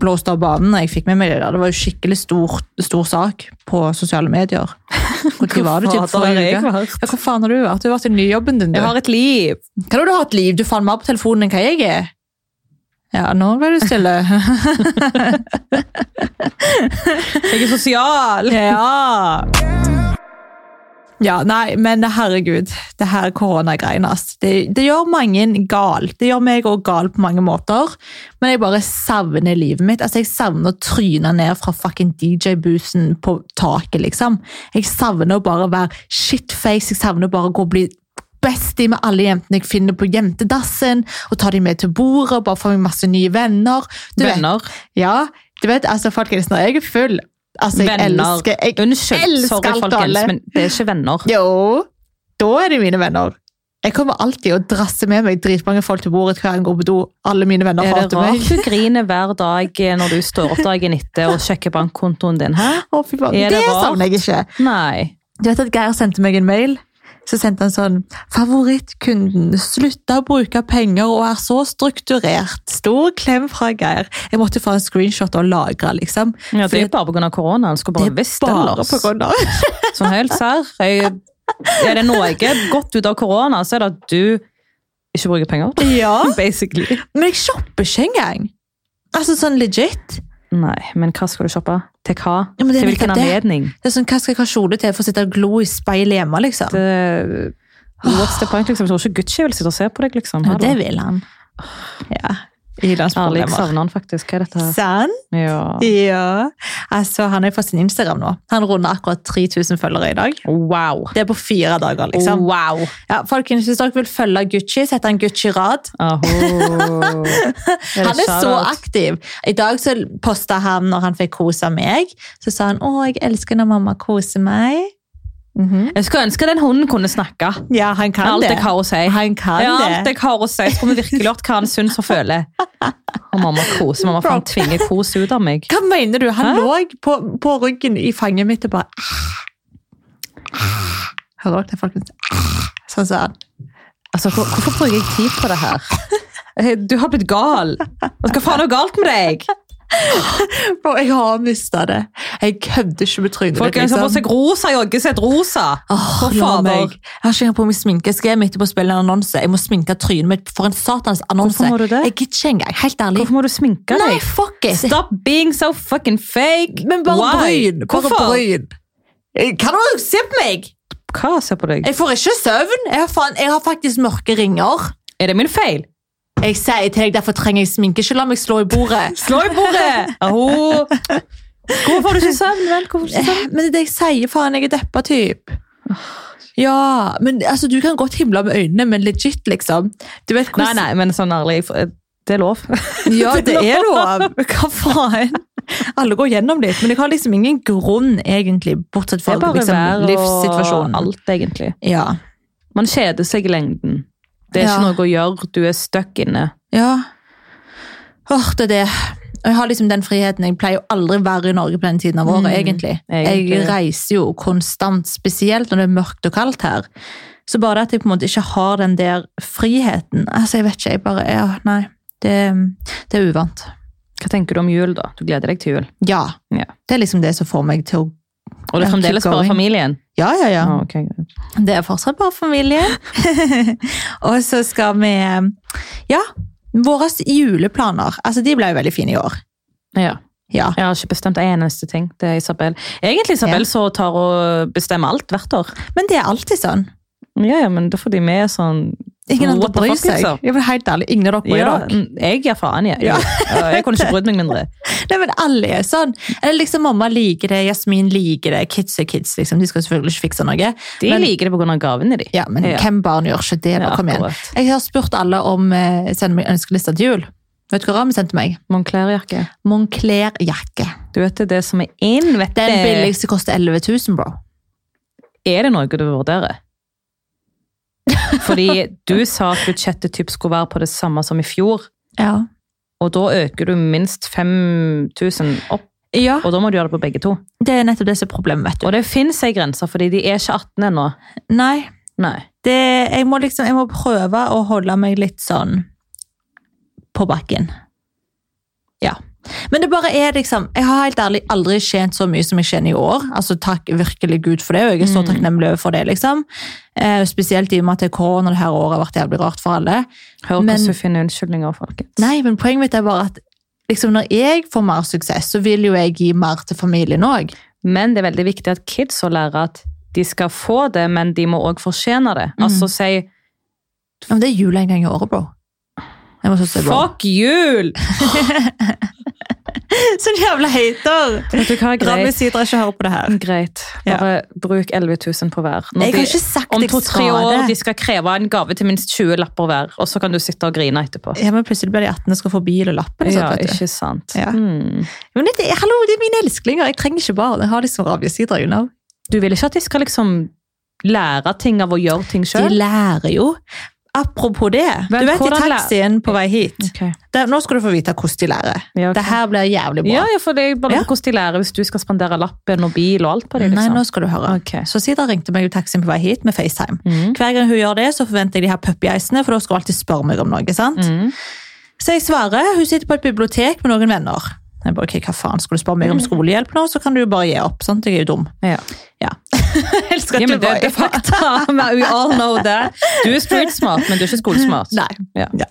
S1: blåst av banen når jeg fikk med meg det der. Det var jo skikkelig stor, stor sak på sosiale medier. Når var det? Typ
S2: Fader, har
S1: forrige
S2: jeg
S1: uke?
S2: vært?
S1: Ja, hvor faen har du vært? Du har vært i nyjobben din, du.
S2: Jeg har et liv.
S1: Hva er det du har et liv? Du fant meg opp på telefonen enn hva jeg er. Ja, nå ble du stille.
S2: Jeg er sosial.
S1: Ja! Ja, nei, men herregud, det her koronagreiene, ass. Det, det gjør mange gal. Det gjør meg òg gal på mange måter. Men jeg bare savner livet mitt. Altså, Jeg savner å tryne ned fra fucking DJ-busen på taket, liksom. Jeg savner å bare være shitface. Jeg savner bare å gå og bli bestie med alle jentene jeg finner på jentedassen. Og ta dem med til bordet, bare få meg masse nye venner. Du vet-
S2: Venner.
S1: ja, du vet, altså folkens, når jeg er full Altså, jeg
S2: Venner.
S1: elsker jeg,
S2: Unnskyld,
S1: elsker
S2: sorry
S1: alt og
S2: folkens,
S1: alle.
S2: men det er ikke venner.
S1: Jo, da er det mine venner. Jeg kommer alltid å drasse med meg dritmange folk til bordet hver gang jeg går på do. Alle mine venner
S2: Er det
S1: hater meg.
S2: rart du griner hver dag eh, når du står opp dagen etter og sjekker bankkontoen din? Hæ?
S1: Å, fy faen.
S2: Er
S1: det
S2: det rart?
S1: savner jeg ikke.
S2: Nei.
S1: Du vet at Geir sendte meg en mail? Så sendte han sånn Favorittkunden slutta å bruke penger og er så strukturert. Stor klem fra Geir. Jeg måtte få en screenshot og lagre, liksom.
S2: Ja, det
S1: Fordi
S2: er bare pga. korona. Han skulle
S1: det
S2: bare
S1: er
S2: visst det.
S1: bare
S2: Lars.
S1: på grunn av
S2: Sånn helt serr. Jeg- Er det noe godt ut av korona, så er det at du ikke bruker penger.
S1: Ja.
S2: Basically.
S1: Men jeg shopper ikke engang. Altså sånn legit.
S2: Nei, men hva skal du shoppe? Til hva?
S1: Ja, men det er
S2: Til
S1: nettopp
S2: hvilken
S1: det.
S2: anledning?
S1: Det er sånn, Hva skal jeg ha kjole til for å sitte og glo i speilet hjemme? liksom?
S2: Det, what's the point, liksom? Jeg tror ikke Gucci vil sitte og se på deg, liksom.
S1: Ja,
S2: Hallo.
S1: det vil han. Ja.
S2: Ærlig, jeg
S1: Ilandsproblemer.
S2: savner han faktisk. Hva er dette? her?
S1: Sann?
S2: Ja.
S1: Ja. Altså, Han er på sin Instagram nå. Han runder akkurat 3000 følgere i dag.
S2: Wow.
S1: Det er på fire dager, liksom.
S2: Wow.
S1: Ja, folkens, Hvis dere vil følge Gucci, setter han Gucci-rad.
S2: Aho.
S1: Han er så aktiv. I dag så posta han når han fikk kose meg. Så sa han 'Å, jeg elsker når mamma koser meg'. Mhm.
S2: Jeg skulle ønske den hunden kunne snakke.
S1: Ja, han kan
S2: alt
S1: det.
S2: jeg har å si.
S1: Han kan
S2: ja, alt
S1: det.
S2: jeg har å si. Skulle vi virkelig hørt hva han syns og føler. Og mamma koser. Mamma faen tvinger kos ut av meg.
S1: Hva mener du? Han
S2: Hæ?
S1: lå på, på ryggen i fanget mitt og bare Hører dere det, folkens? Sånn sa han.
S2: Altså, hvor, Hvorfor bruker jeg tid på det her? Eh, Du har blitt gal. Altså, Hva faen er galt med deg?
S1: Bro, jeg har mista det. Jeg kødder ikke med trynet liksom.
S2: Folk har på seg rosa joggesett rosa.
S1: Åh,
S2: For
S1: la
S2: fader.
S1: meg. Jeg har ikke engang på meg sminke. Jeg skrev midt på å spille en annonse. Jeg må sminke trynet mitt for en satans annonse.
S2: Hvorfor må du det?
S1: Jeg gidder ikke engang. Helt ærlig.
S2: Hvorfor må du sminke
S1: Nei,
S2: deg?
S1: fuck it!
S2: Stop being so fucking fake.
S1: Men bare
S2: Why?
S1: bryn. Bare
S2: Hvorfor?
S1: bryn. Jeg- Kan du se på meg?
S2: Hva ser på deg?
S1: Jeg får ikke søvn. Jeg har, faen, jeg har faktisk mørke ringer.
S2: Er det min feil?
S1: Jeg sier til deg, derfor trenger jeg sminke. Ikke la meg slå i bordet.
S2: Slå i bordet! Aho. Hvorfor får du ikke søvn? Vel? Hvorfor får du ikke søvn?
S1: Sånn, Men det er det jeg sier, faen, jeg er deppa typ. Ja, men altså, du kan godt himle med øynene, men legit, liksom. Du vet
S2: Nei,
S1: hvordan...
S2: nei, men sånn ærlig, for- det er lov.
S1: Ja, det er lov. Hva faen? Alle går gjennom litt, men jeg har liksom ingen grunn, egentlig, bortsett
S2: Det
S1: fra
S2: er bare
S1: liksom,
S2: vær og
S1: livssituasjonen.
S2: alt, egentlig.
S1: Ja.
S2: Man kjeder seg i lengden. Det er
S1: Ja.
S2: ikke noe å gjøre. Du er stuck inne.
S1: Ja. Åh, det er det. Og jeg har liksom den friheten. Jeg pleier jo aldri å være i Norge på den tiden av året,
S2: Mm,
S1: egentlig.
S2: egentlig.
S1: Jeg reiser jo konstant, spesielt når det er mørkt og kaldt her. Så bare det at jeg på en måte ikke har den der friheten Altså, jeg vet ikke, jeg bare ja, Nei. Det, det er uvant.
S2: Hva tenker du om jul, da? Du gleder deg til jul.
S1: Ja.
S2: Ja.
S1: Det er liksom det som får meg til å
S2: Og det er
S1: Ja,
S2: fremdeles
S1: keep
S2: bare
S1: going.
S2: familien?
S1: Ja, ja, ja.
S2: Ah, ok, greit.
S1: Det er fortsatt bare familien. og så skal vi Ja, våre juleplaner. Altså, de ble jo veldig fine i år.
S2: ja.
S1: Ja.
S2: Jeg har ikke bestemt en eneste ting. Det er Isabel. Egentlig Isabel
S1: Ja.
S2: så tar og bestemmer alt hvert år.
S1: Men det er alltid sånn.
S2: Ja, ja, men da får de med sånn
S1: Ingen andre
S2: What the
S1: bryr
S2: fuck,
S1: seg.
S2: liksom?
S1: Jeg blir helt ærlig, ingen av dere bryr
S2: ja,
S1: dere.
S2: Jeg gir faen, jeg.
S1: Ja.
S2: Ja, Jeg kunne ikke brydd meg mindre.
S1: Nei, men alle er sånn. Eller liksom, Mamma liker det, Jasmin liker det, kids er kids. liksom. De skal selvfølgelig ikke fikse noe.
S2: De
S1: Men-
S2: liker det på grunn av gavene de.
S1: Ja, Men
S2: Ja.
S1: hvem barn gjør ikke det? Bare kom igjen.
S2: akkurat.
S1: Jeg har spurt alle om eh, send meg ønskeliste til jul. Vet du hva Rami sendte meg?
S2: Moncler-jakke.
S1: Moncler-jakke.
S2: Du vet det er det som er inn, vet
S1: Den
S2: du.
S1: billigste koster 11 000, bro.
S2: Er det noe du vurderer? Fordi du sa at budsjettet typ skulle være på det samme som i fjor,
S1: Ja.
S2: og da øker du minst 5000 opp,
S1: ja.
S2: og da må du gjøre det på begge to.
S1: Det er nettopp det som er problemet, vet du.
S2: Og det finnes ei grense, fordi de er ikke 18 ennå.
S1: Nei,
S2: Nei.
S1: det, jeg, må liksom, jeg må prøve å holde meg litt sånn på bakken. Ja. Men det bare er liksom Jeg har helt ærlig aldri tjent så mye som jeg tjener i år. Altså Takk virkelig Gud for det, og jeg er så
S2: Mm.
S1: takknemlig for det. liksom. Eh, spesielt i og med at korona det her året har vært jævlig rart for alle.
S2: Hør
S1: Men-
S2: hvordan du finner unnskyldninger, folkens.
S1: Nei, men poenget mitt er bare at liksom, når jeg får mer suksess, så vil jo jeg gi mer til familien òg.
S2: Men det er veldig viktig at kids får lære at de skal få det, men de må òg fortjene det.
S1: Mm.
S2: Altså si
S1: Ja, men det er jul en gang i året, bro. Jeg må så si bro.
S2: Fuck jul!
S1: Sånn jævla hater!
S2: Vet du hva,
S1: Rami
S2: greit.
S1: sier dere ikke hører på det her.
S2: greit. Bare bruk 11 000 på hver. Når
S1: Jeg
S2: de-
S1: har ikke sagt
S2: om
S1: jeg
S2: to-tre
S1: skal
S2: år de
S1: det.
S2: skal kreve en gave til minst 20 lapper hver, og så kan du sitte og grine etterpå.
S1: Ja, men plutselig blir de 18 og skal få bil og lapp. Eller
S2: Ja,
S1: sånt, vet du.
S2: ikke sant.
S1: Ja.
S2: Hmm.
S1: Men det, hallo, det er mine elsklinger. Jeg trenger ikke barn. Jeg har liksom Ravi Sidra, you know.
S2: Du vil ikke at de skal liksom lære ting av å gjøre ting
S1: De
S2: sjøl?
S1: lærer jo. Apropos det.
S2: Vel,
S1: du vet i
S2: hvordan læ-
S1: taxien på vei hit. Der, nå skal du få vite hvordan de lærer.
S2: Ja, ok.
S1: Det her blir jævlig bra.
S2: Ja, ja, for det er bare
S1: Ja.
S2: hvordan de lærer hvis du skal spandere lappen og bil og alt på dem.
S1: Nei,
S2: Liksom.
S1: nå skal du høre.
S2: Ok.
S1: Så Sidra ringte meg jo taxien på vei hit med FaceTime.
S2: Mm.
S1: Hver gang hun gjør det, så forventer jeg de her puppyeisene, for da skal hun alltid spørre meg om noe. sant?
S2: Mm.
S1: Så jeg svarer, hun sitter på et bibliotek med noen venner. Jeg bare, ok, hva faen, skal du spørre meg om skolehjelp nå, så kan du jo bare gi opp, sant? Jeg er jo dum.
S2: Mm. Ja.
S1: Jeg elsker at
S2: Ja,
S1: du
S2: men det,
S1: bare-
S2: det er fakta. We all know that. Du er street smart, men du er ikke skolesmart.
S1: Nei,
S2: Ja.
S1: ja.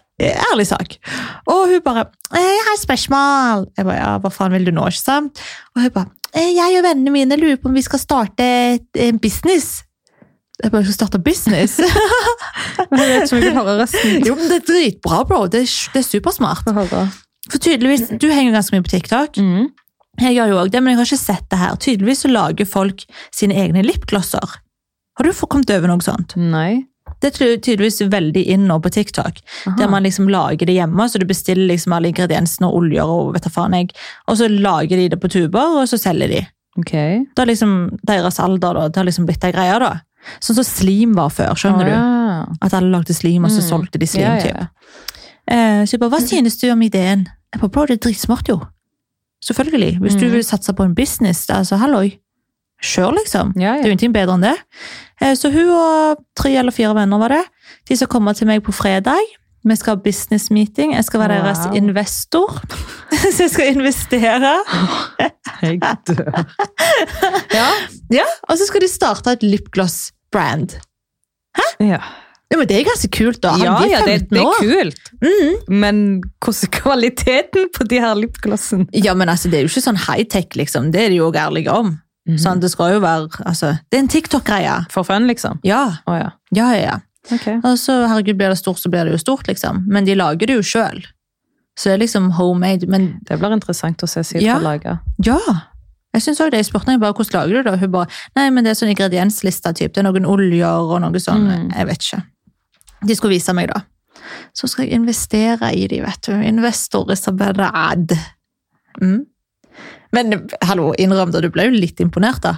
S1: ærlig sak. Og hun bare, «Eh, jeg har et spørsmål. Jeg bare, ja, hva faen vil du nå, ikke sant? Og hun bare, «Eh, jeg og vennene mine lurer på om vi skal starte et- en business. Jeg bare, skal starte business?
S2: Jeg vet ikke om jeg vil høre resten.
S1: jo, men det er dritbra, bro. Det er, det er supersmart. For tydeligvis, du henger jo ganske mye på TikTok.
S2: Mm.
S1: Jeg gjør jo også det, men jeg har ikke sett det her. Tydeligvis så lager folk sine egne lipglosser. Har du fått- kommet over noe sånt?
S2: Nei.
S1: Det er ty- tydeligvis veldig inn nå på TikTok,
S2: Aha.
S1: der man liksom lager det hjemme, så du bestiller liksom alle ingrediensene og oljer og vet du faen jeg, og så lager de det på tuber, og så selger de.
S2: Ok.
S1: Det er liksom deres alder da, det har liksom blitt ei greie da. Sånn som slim var før, skjønner du?
S2: Ah.
S1: At alle lagde slim, og så
S2: Mm.
S1: solgte de slim,
S2: Ja,
S1: typ.
S2: ja.
S1: Eh, Så jeg bare, hva
S2: Mm.
S1: synes du om ideen? Jeg bare, bro, det er dritsmart jo. Selvfølgelig. Hvis du
S2: Mhm.
S1: vil satse på en business, da, altså halloi. Selv liksom.
S2: Ja,
S1: Det er
S2: ja.
S1: jo ingenting bedre enn det. Eh, Så hun og tre eller fire venner var det. De skal komme til meg på fredag. Vi skal ha business meeting. Jeg skal være deres
S2: Wow.
S1: investor. Så jeg skal investere.
S2: Jeg dør. Ja.
S1: Og så skal de starte et lipgloss-brand.
S2: Ja,
S1: Ja, men det er ganske kult da. Han
S2: ja,
S1: blir
S2: ja det,
S1: 15
S2: det er
S1: år.
S2: kult.
S1: Mhm.
S2: Men hvordan er kvaliteten på de her lipglossene?
S1: Ja, men altså, det er jo ikke sånn high-tech liksom. Det er de jo også ærlige om.
S2: Mm. Mhm.
S1: Sånn, det skal jo være altså, Det er en TikTok-greie.
S2: For fun, liksom?
S1: Ja,
S2: Å ja.
S1: ja, ja. ja.
S2: Ok.
S1: Og så, herregud, blir det stort, så blir det jo stort, liksom. Men de lager det jo sjøl. Så det er liksom homemade. Men
S2: Det blir interessant å se Silje
S1: Ja.
S2: lage.
S1: ja! Jeg synes også det. Jeg spurte henne jeg bare hvordan lager du det, og hun bare nei, men det er sånn ingredienslista, typ. Det er noen oljer og noe sånn.
S2: Mm.
S1: Jeg vet ikke. De skulle vise meg, da. Så skal jeg investere i de, vet du. Investor Isabella Ad. Mm. Men hallo, innrøm det, du ble jo litt imponert, da.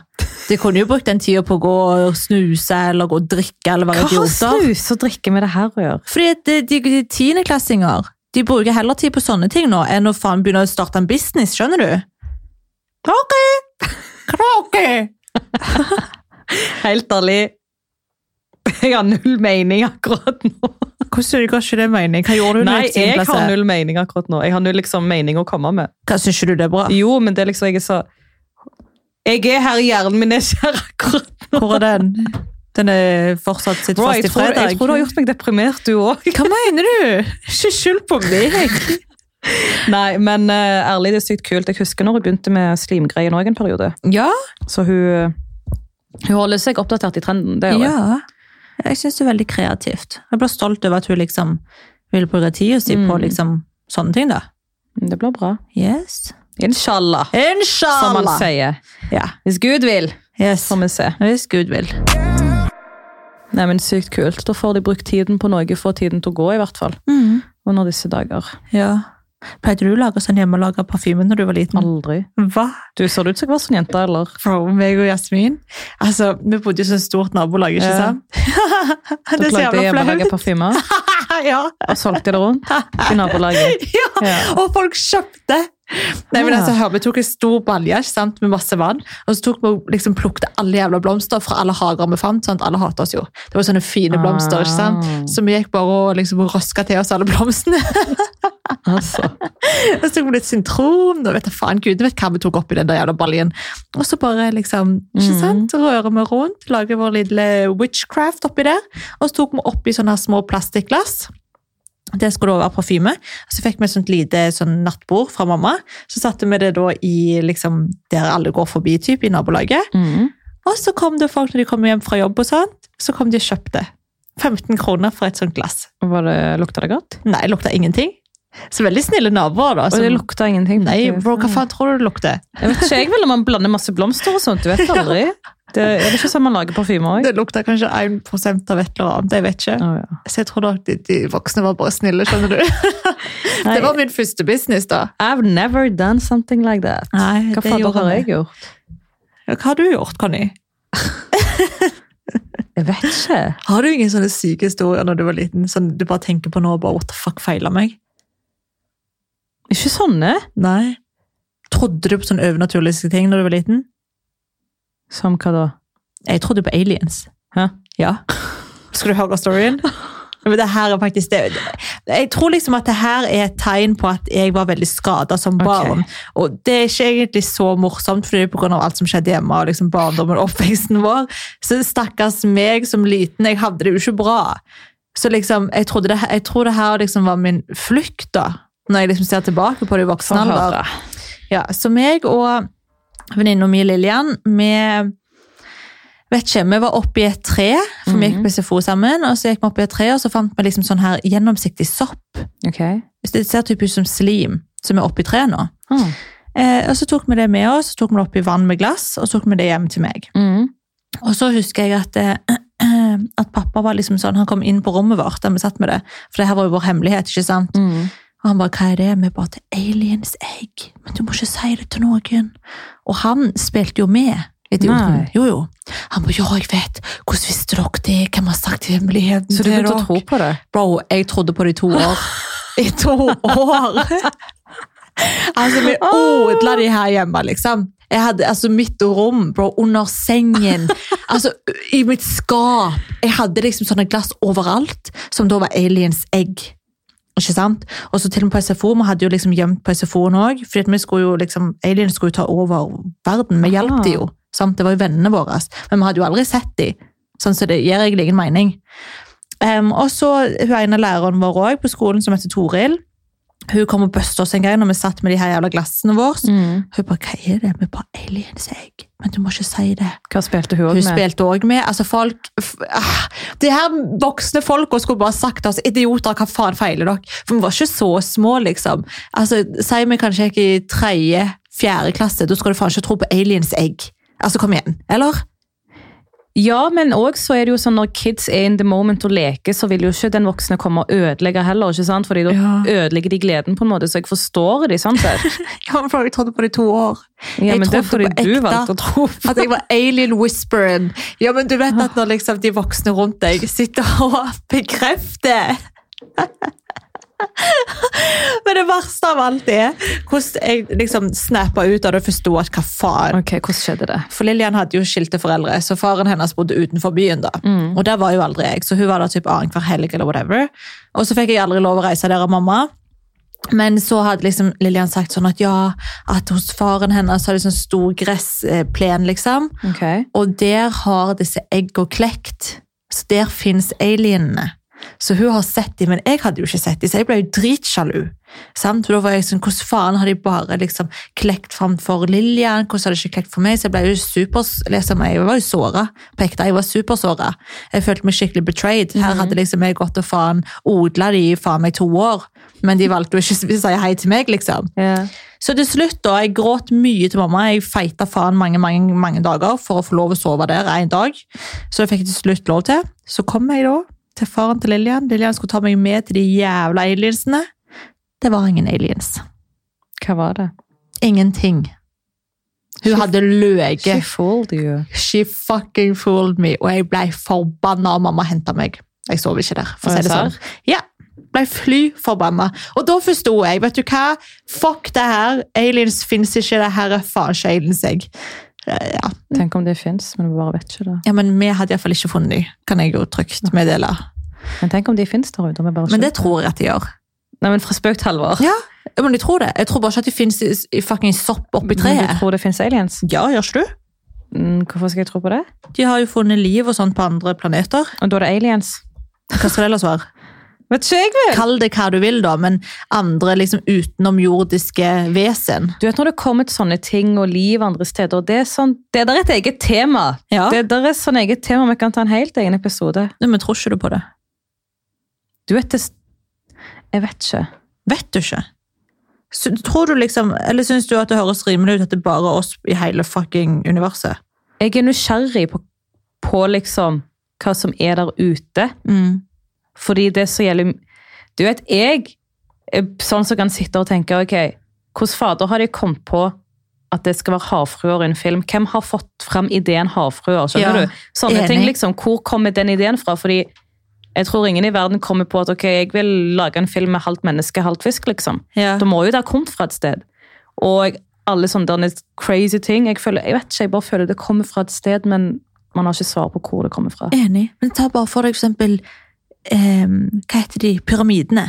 S1: De kunne jo brukt den tida på å gå og snuse eller gå og drikke eller
S2: Hva
S1: være
S2: har
S1: idioter.
S2: snus og drikke med det her å gjøre?
S1: Fordi at de, de, de tiendeklassinger de bruker heller tid på sånne ting nå enn å faen begynne å starte en business, skjønner du? Kråke! Kråke!
S2: Helt ærlig, jeg har null mening akkurat nå.
S1: Hvordan går ikke det mening? Hva gjorde du? når
S2: Nei,
S1: du
S2: jeg har
S1: tiendeklasse?
S2: null mening akkurat nå. Jeg har null liksom, mening å komme med.
S1: Hva syns ikke du det er bra?
S2: Jo, men det er liksom jeg er så Jeg er her i hjernen min, er ikke her akkurat nå.
S1: Hvor er den? Den er fortsatt sitt
S2: Bro,
S1: fast
S2: jeg,
S1: i
S2: tror,
S1: fredag.
S2: jeg tror du har gjort meg deprimert, du òg.
S1: Hva mener du? Ikke skyld på meg.
S2: Nei, men eh, ærlig, det er sykt kult. Jeg husker når hun begynte med slimgreien òg en periode.
S1: Ja,
S2: Så hun, hun holder seg oppdatert i trenden. det gjør hun.
S1: ja. Jeg syns det er veldig kreativt. Jeg blir stolt over at hun liksom vil bruke tida si på
S2: Mm.
S1: liksom sånne ting, da.
S2: Det blir bra.
S1: Yes.
S2: Inshallah, som man
S1: Inshallah!
S2: sier.
S1: Ja.
S2: Hvis Gud vil,
S1: Yes.
S2: får vi se.
S1: Hvis Gud vil.
S2: Nei, men Sykt kult. Da får de brukt tiden på noe, få tiden til å gå, i hvert fall. Under disse dager.
S1: Ja. Pleide du å lage sånn hjemmelaga parfyme når du var liten?
S2: Aldri.
S1: Hva?
S2: Du ser ut som jeg var sånn jente, eller?
S1: Bro, meg og Jasmin. Altså, vi bodde jo i så stort nabolag, ikke
S2: Ja.
S1: sant?
S2: Du
S1: det er så
S2: plagde
S1: jævla
S2: hjemmelaga
S1: flaut.
S2: parfymer
S1: ja.
S2: og solgte det rundt i nabolaget.
S1: ja.
S2: Ja.
S1: Og folk kjøpte! Nei, men
S2: Ja.
S1: altså, hør, Vi tok en stor balje ikke sant, med masse vann, og så tok vi og liksom, plukket alle jævla blomster fra alle hager vi fant. sant? Alle hater oss jo. Det var sånne fine blomster. ikke sant?
S2: Ah.
S1: Så vi gikk bare og liksom røska til oss alle blomstene.
S2: Altså.
S1: Og så tok vi litt sintron, og vet da faen gud, vet hva vi tok oppi den der jævla baljen. Og så bare liksom, ikke
S2: Mhm.
S1: sant, rører vi rundt, lager vår lille witchcraft oppi der. Og så tok vi oppi sånne her små plastikkglass. Det skulle da være parfyme. Så fikk vi et sånt lite sånn nattbord fra mamma. Så satte vi det da i liksom, der alle går forbi, typ, i nabolaget.
S2: Mm.
S1: Og så kom det folk når de kom hjem fra jobb og sånt, så kom de og kjøpte. 15 kroner for et sånt glass.
S2: Var det, lukta det godt?
S1: Nei, det lukta ingenting. Så veldig snille naboer, da.
S2: Og det
S1: som-
S2: lukta ingenting.
S1: Altså, Nei,
S2: Det-
S1: bro, hva faen tror du det lukter?
S2: Jeg vet ikke, jeg vil om man blander masse blomster og sånt. Du vet aldri. Det, er det ikke sånn man lager parfymer òg?
S1: Det lukter kanskje 1 av et eller annet, jeg vet ikke.
S2: ja.
S1: Så jeg tror da de, de voksne var bare snille, skjønner du.
S2: Nei,
S1: Det var min første business, da.
S2: I've never done something like that.
S1: Nei,
S2: Hva fader har jeg gjort?
S1: Hva har du gjort, Conny?
S2: Jeg vet ikke.
S1: Har du ingen sånne syke historier når du var liten, som du bare tenker på nå og bare what the fuck feiler meg?
S2: Ikke sånne
S1: Nei. Trodde du på sånne overnaturlige ting når du var liten?
S2: som hva da?
S1: Jeg trodde på aliens.
S2: Hæ?
S1: Ja. Skal du høre storyen? Men det her er faktisk det. Jeg tror liksom at det her er et tegn på at jeg var veldig skada som barn. Og det er ikke egentlig så morsomt, for det er pga. alt som skjedde hjemme. og liksom barndommen og oppveksten vår. Så stakkars meg som liten, jeg hadde det jo ikke bra. Så liksom, jeg, trodde det, jeg tror det her liksom var min flukt, da. Når jeg liksom ser tilbake på det i voksen
S2: Få
S1: alder.
S2: høre.
S1: Ja, så meg og venninna mi Lillian, vi vet ikke, vi var oppe i et tre, for vi gikk på SFO sammen, og så gikk vi opp i et tre, og så fant vi liksom sånn her gjennomsiktig sopp.
S2: Ok.
S1: Så Det ser typ ut som slim, som er oppe i treet nå.
S2: Ah.
S1: Eh, og så tok vi det med oss, så tok vi det opp i vann med glass, og så tok vi det hjem til meg.
S2: Mm.
S1: Og så husker jeg at, eh, at pappa var liksom sånn, han kom inn på rommet vårt, der vi satt med det, for det her var jo vår hemmelighet, ikke sant?
S2: Mm.
S1: Og han bare, hva er det? Vi bare, det er aliens egg. Men du må ikke si det til noen. Og han spilte jo med. Idioten.
S2: Nei.
S1: Jo, jo. Han bare, ja, jeg vet. Hvordan visste dere det? Hvem har sagt hemmeligheten
S2: Så du
S1: til
S2: begynte å tro på det?
S1: Bro, jeg trodde på det i to år. I to år! altså, vi odla de her hjemme, liksom. Jeg hadde altså mitt rom, bro, under sengen. altså, i mitt skap. Jeg hadde liksom sånne glass overalt, som da var aliens egg. Ikke sant? Og så til og med på SFO, vi hadde jo liksom gjemt på SFO-en òg, fordi at vi skulle jo liksom, aliens skulle jo ta over verden. Vi hjalp de jo. Sant? Det var jo vennene våre. Men vi hadde jo aldri sett de. Sånn, så det gir egentlig ingen mening. Em, og så hun ene læreren vår også, på skolen, som heter Toril. Hun kom og bøste oss en gang når vi satt med de her jævla glassene våre.
S2: Mm.
S1: Hun bare 'Hva er det?' Vi bare 'Aliens, jeg'. Men du må ikke si det.
S2: Hva spilte hun
S1: Hun
S2: òg med?
S1: spilte òg med. Altså, folk f ah, De her voksne folka skulle bare sagt til oss 'Idioter, hva faen feiler dere?' For vi var ikke så små, liksom. Altså, Si vi kanskje ikke i tredje, fjerde klasse, da skal du faen ikke tro på aliens egg. Altså, kom igjen. Eller?
S2: Ja, men òg så er det jo sånn når kids er in the moment og leker, så vil jo ikke den voksne komme og ødelegge heller. ikke sant? Fordi da
S1: Ja.
S2: ødelegger de gleden på en måte, så jeg forstår de sånn sett.
S1: Jeg har faktisk trodd på det i to år.
S2: Ja,
S1: Jeg
S2: men det er
S1: trodde
S2: fordi
S1: på
S2: du
S1: ekte
S2: valgte å tro på
S1: At jeg var alien whisperen. Ja, men du vet at når liksom de voksne rundt deg sitter og bekrefter Men det verste av alt er hvordan jeg liksom snappa ut av det og forsto at hva faen
S2: Ok, hvordan skjedde det?
S1: For Lillian hadde jo skilte foreldre, så faren hennes bodde utenfor byen. da. Og der var jo aldri jeg, så hun var der typ annenhver helg eller whatever. Og så fikk jeg aldri lov å reise der av mamma. Men så hadde liksom Lillian sagt sånn at ja, at hos faren hennes har de sånn stor gressplen, liksom.
S2: Ok.
S1: Og der har disse egg og klekt. Så der finnes alienene. Så hun har sett dem, men jeg hadde jo ikke sett dem, så jeg ble jo dritsjalu. Sant? For da var jeg sånn, hvordan faen har de bare liksom klekt fram for Lillian? Hvordan har de ikke klekt for meg? Så jeg ble jo super, liksom, jeg var jo såret på ekte. Jeg var supersåret. Jeg følte meg skikkelig betrayed. Her hadde liksom jeg gått og faen odlet de i faen meg to år. Men de valgte jo ikke å si hei til meg, liksom.
S2: Ja.
S1: Så til slutt da, jeg gråt mye til mamma. Jeg feita faen mange, mange, mange dager for å få lov å sove der en dag. Så det fikk jeg til slutt lov til. Så kom jeg da til faren til Lillian. Lillian skulle ta meg med til de jævla aliensene. Det var ingen aliens.
S2: Hva var det?
S1: Ingenting. Hun hadde
S2: She
S1: løyet.
S2: fooled you.
S1: She fucking fooled me. Og jeg ble forbanna, og mamma henta meg. Jeg sov ikke der, for å si det sånn. Ja, ble fly forbanna. Og da forsto jeg, vet du hva? Fuck det her. Aliens fins ikke. Det her er faen ikke aliens, jeg. Eh, Ja.
S2: Tenk om det fins, men vi bare vet ikke det.
S1: ja, men vi hadde iallfall ikke funnet dem, kan jeg jo trygt meddele.
S2: Men tenk om de fins der ute. og vi bare
S1: Men
S2: ikke
S1: det tror jeg at de gjør.
S2: vet. Nei, men fra spøk til alvor.
S1: Ja, men jeg tror det. Jeg tror bare ikke at de fins i, i fucking sopp oppi
S2: Men Du
S1: treet.
S2: tror det fins aliens?
S1: Ja, gjør ikke du?
S2: Mm, Hvorfor skal jeg tro på det?
S1: De har jo funnet liv og sånt på andre planeter.
S2: Og da er det aliens.
S1: Hva skal det ellers være?
S2: Vet ikke jeg, vel!
S1: Kall det hva du vil, da, men andre liksom utenomjordiske vesen.
S2: Du vet når det er kommet sånne ting og liv andre steder, og det er sånn, det der er et eget tema.
S1: Ja.
S2: Det der er sånn eget tema, vi kan ta en helt egen episode.
S1: Nei, Men tror ikke du på det?
S2: Du vet det... Jeg vet ikke.
S1: Vet du ikke? Så, tror du liksom, eller syns du at det høres rimelig ut at det er bare oss i hele fucking universet?
S2: Jeg er nysgjerrig på, på liksom hva som er der ute,
S1: Mm.
S2: fordi det som gjelder... Du vet, jeg er sånn som kan sitte og tenke, ok, hvordan fader har de kommet på at det skal være havfruer i en film? Hvem har fått frem ideen havfruer, skjønner
S1: Ja,
S2: du? Sånne
S1: enig.
S2: ting liksom, hvor kommer den ideen fra? Fordi jeg tror ingen i verden kommer på at ok, jeg vil lage en film med halvt menneske, halvt fisk, liksom.
S1: Ja.
S2: Da må jo det ha kommet fra et sted. Og alle sånne derne crazy ting, jeg føler, jeg vet ikke, jeg bare føler det kommer fra et sted, men man har ikke svar på hvor det kommer fra.
S1: Enig. Men ta bare for deg for eksempel ehm, Hva heter de? Pyramidene.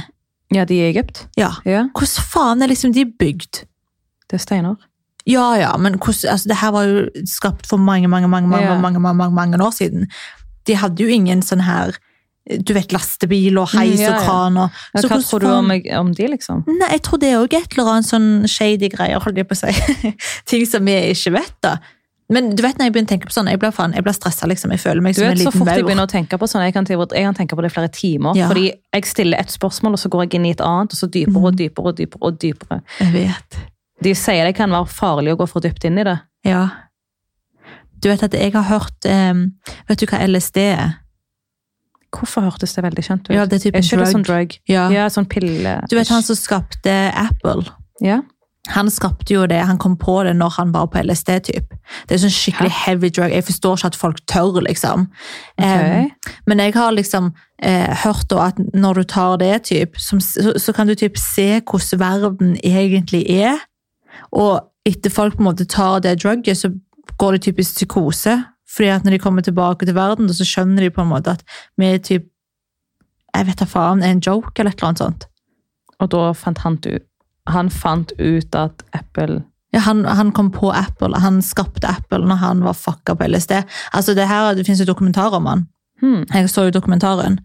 S2: Ja, de i Egypt.
S1: Ja.
S2: Ja,
S1: Hvordan faen er liksom de bygd?
S2: det er steiner.
S1: Ja, ja, men hvordan, altså, det her var jo skapt for mange, mange, mange, mange,
S2: Ja.
S1: mange, mange, mange, mange år siden. De hadde jo ingen sånn her du vet, lastebil og heis
S2: Mm, ja,
S1: og
S2: ja.
S1: kran og
S2: Ja,
S1: Så
S2: hva
S1: hvordan
S2: tror du
S1: faen-
S2: om, jeg- om de, liksom?
S1: Nei, jeg tror det er også et eller annet sånn shady greier, holdt jeg på å si. Ting som vi ikke vet, da. Men du vet når jeg begynner å tenke på sånn, jeg blir, faen, jeg blir stressa, liksom. Jeg føler meg
S2: Du
S1: som en
S2: vet, så
S1: liten
S2: fort jeg
S1: maur.
S2: begynner å tenke på sånn, jeg kan, til- jeg kan tenke på det i flere timer,
S1: Ja.
S2: fordi jeg stiller et spørsmål, og så går jeg inn i et annet, og så dypere
S1: Mhm.
S2: og dypere og dypere og dypere.
S1: Jeg vet.
S2: De sier det kan være farlig å gå for dypt inn i det.
S1: Ja. Du vet at jeg har hørt em, Vet du hva LSD er?
S2: Hvorfor hørtes det veldig kjent ut?
S1: Ja, det er
S2: er
S1: typen
S2: ikke det sånn
S1: drug.
S2: drug?
S1: Ja.
S2: Ja, sånn pille.
S1: Du vet han som skapte Apple?
S2: Ja.
S1: Han skapte jo det, han kom på det når han var på LSD-typ. Det er sånn skikkelig heavy drug. Jeg forstår ikke at folk tør, liksom. Em,
S2: Ok.
S1: Men jeg har liksom eh, hørt da at når du tar det, typ, som, så, så kan du typ se hvordan verden egentlig er. Og etter folk på en måte tar det drugget, så går det typisk psykose. Fordi at når de kommer tilbake til verden, da, så skjønner de på en måte at vi er typ jeg vet da faen, er en joke eller et eller annet sånt.
S2: Og da fant han ut Han fant ut at Apple
S1: Ja, han, han kom på Apple, han skapte Apple når han var fucka på LSD. Altså, det her, det finnes jo dokumentar om han.
S2: hmm.
S1: Jeg så jo dokumentaren.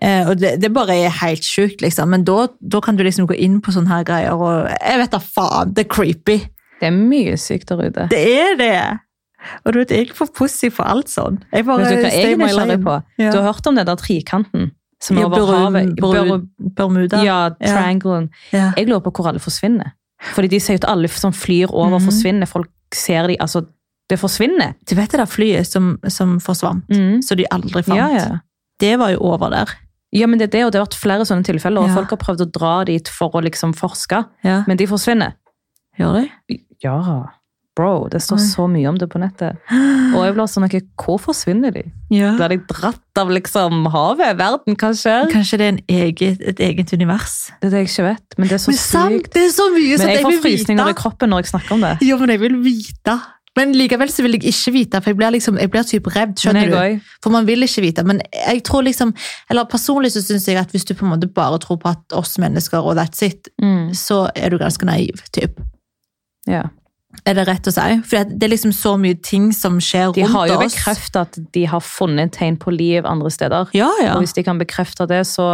S1: Eh, og det, det bare er helt sjukt, liksom. Men da, da kan du liksom gå inn på sånne her greier, og jeg vet da faen, det er creepy.
S2: Det er mye sykt der ute.
S1: Det er det! Og du vet, jeg er ikke for pussy for alt sånn. Jeg bare
S2: Vet du hva jeg er nysgjerrig på?
S1: Ja.
S2: Du har hørt om den der trikanten som er
S1: Ja,
S2: over
S1: Bru-
S2: havet?
S1: Bru- Bermuda.
S2: Bru- ja, trianglen.
S1: Ja.
S2: Jeg lurer på hvor alle forsvinner. Fordi de sier jo at alle som flyr over,
S1: Mhm.
S2: forsvinner. Folk ser de, altså Det Det forsvinner.
S1: Du vet det der flyet som, som forsvant,
S2: Mm.
S1: så de aldri fant?
S2: Ja, ja.
S1: Det var jo over der.
S2: ja, men det er det, og det har vært flere sånne tilfeller. og
S1: Ja.
S2: Folk har prøvd å dra dit for å liksom forske,
S1: Ja.
S2: men de forsvinner.
S1: Gjør de?
S2: Ja, bro, det står
S1: Oi.
S2: så mye om det på nettet. Og jeg blir sånn, ok, hvor forsvinner de?
S1: Ja.
S2: Blir de dratt av liksom havet, verden, hva skjer?
S1: Kanskje det er en eget, et eget univers?
S2: Det er det jeg ikke vet, men det er så
S1: Men sant,
S2: sykt.
S1: det er så mye
S2: Men
S1: sånn at
S2: jeg
S1: jeg
S2: får
S1: vil
S2: frysninger i
S1: vite.
S2: kroppen når jeg snakker om det.
S1: Jo, men jeg vil vite. Men likevel så vil jeg ikke vite, for jeg blir liksom, jeg blir typ redd,
S2: Men
S1: skjønner
S2: jeg
S1: du?
S2: også.
S1: For man vil ikke vite. Men jeg tror liksom, eller personlig så synes jeg at hvis du på en måte bare tror på at oss mennesker og that's it,
S2: Mm,
S1: så er du ganske naiv, typ.
S2: ja.
S1: Er det rett å si? For det er liksom så mye ting som skjer
S2: De har
S1: rundt
S2: jo
S1: oss.
S2: bekreftet at de har funnet tegn på liv andre steder.
S1: Ja, ja.
S2: Og hvis de kan bekrefte det, så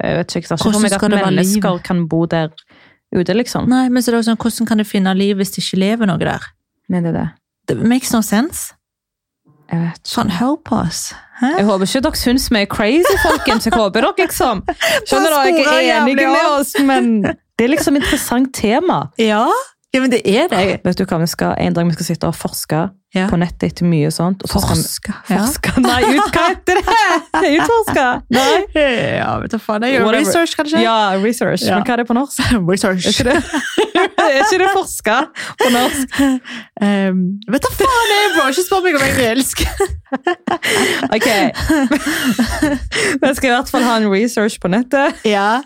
S2: jeg vet ikke, altså, jeg ser ikke
S1: Hvordan
S2: for meg at
S1: skal det være
S2: mennesker kan bo der ute, liksom.
S1: Nei, men så er det jo sånn, hvordan kan du finne liv hvis det ikke lever noe der?
S2: Men det er det.
S1: Det makes no sense.
S2: Jeg vet ikke.
S1: Sånn, hør på oss. Hæ?
S2: Jeg håper ikke dere syns vi er crazy, folkens. Jeg håper dere liksom Skjønner
S1: Bare
S2: dere, jeg
S1: sporer
S2: er enige
S1: jævlig
S2: med
S1: av.
S2: oss, men det er liksom et interessant tema.
S1: Ja, ja men det er det.
S2: Vet du hva, vi skal, En dag vi skal sitte og forske
S1: Ja.
S2: på nettet etter mye sånt. Og så skal vi,
S1: Forske.
S2: forske. Nei, ut, hva heter det? Utforske? Nei.
S1: Ja, ja vet du faen. Jeg gjør
S2: Whatever.
S1: research, kanskje?
S2: Ja, research.
S1: Ja.
S2: Men hva er det på norsk?
S1: research.
S2: Er ikke det, er ikke det forske på norsk?
S1: Ehm, vet du faen, jeg er bra. Ikke spør meg om jeg er elsk.
S2: Ok. Vi skal i hvert fall ha en research på nettet.
S1: Ja.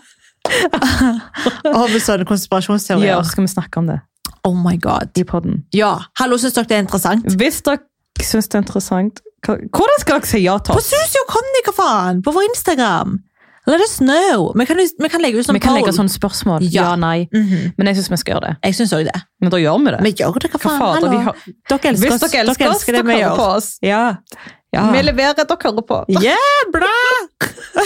S1: Og med sånne konspirasjonsteorier.
S2: Ja, og så skal vi snakke om det
S1: Oh my god.
S2: i podden.
S1: Ja, hallo, synes dere det er interessant?
S2: Hvis dere syns det er interessant hva- Hvordan skal dere si ja til
S1: På
S2: oss?
S1: Susio Conny, hva faen? På vår Instagram. Let us know. Vi kan, vi kan legge ut sånn
S2: Vi kan
S1: poll.
S2: legge sånn spørsmål.
S1: Ja.
S2: Ja, nei.
S1: Mhm.
S2: Men jeg syns vi skal gjøre det.
S1: Jeg synes også det.
S2: Men da gjør vi det.
S1: Vi gjør det, hva
S2: Hva
S1: faen?
S2: fader,
S1: hallo?
S2: vi har...
S1: Dere elsker
S2: Hvis
S1: oss.
S2: dere elsker oss,
S1: det
S2: dere
S1: vi
S2: hører på
S1: gjør.
S2: oss.
S1: Ja. ja.
S2: Vi leverer, dere hører på.
S1: Yeah, bra!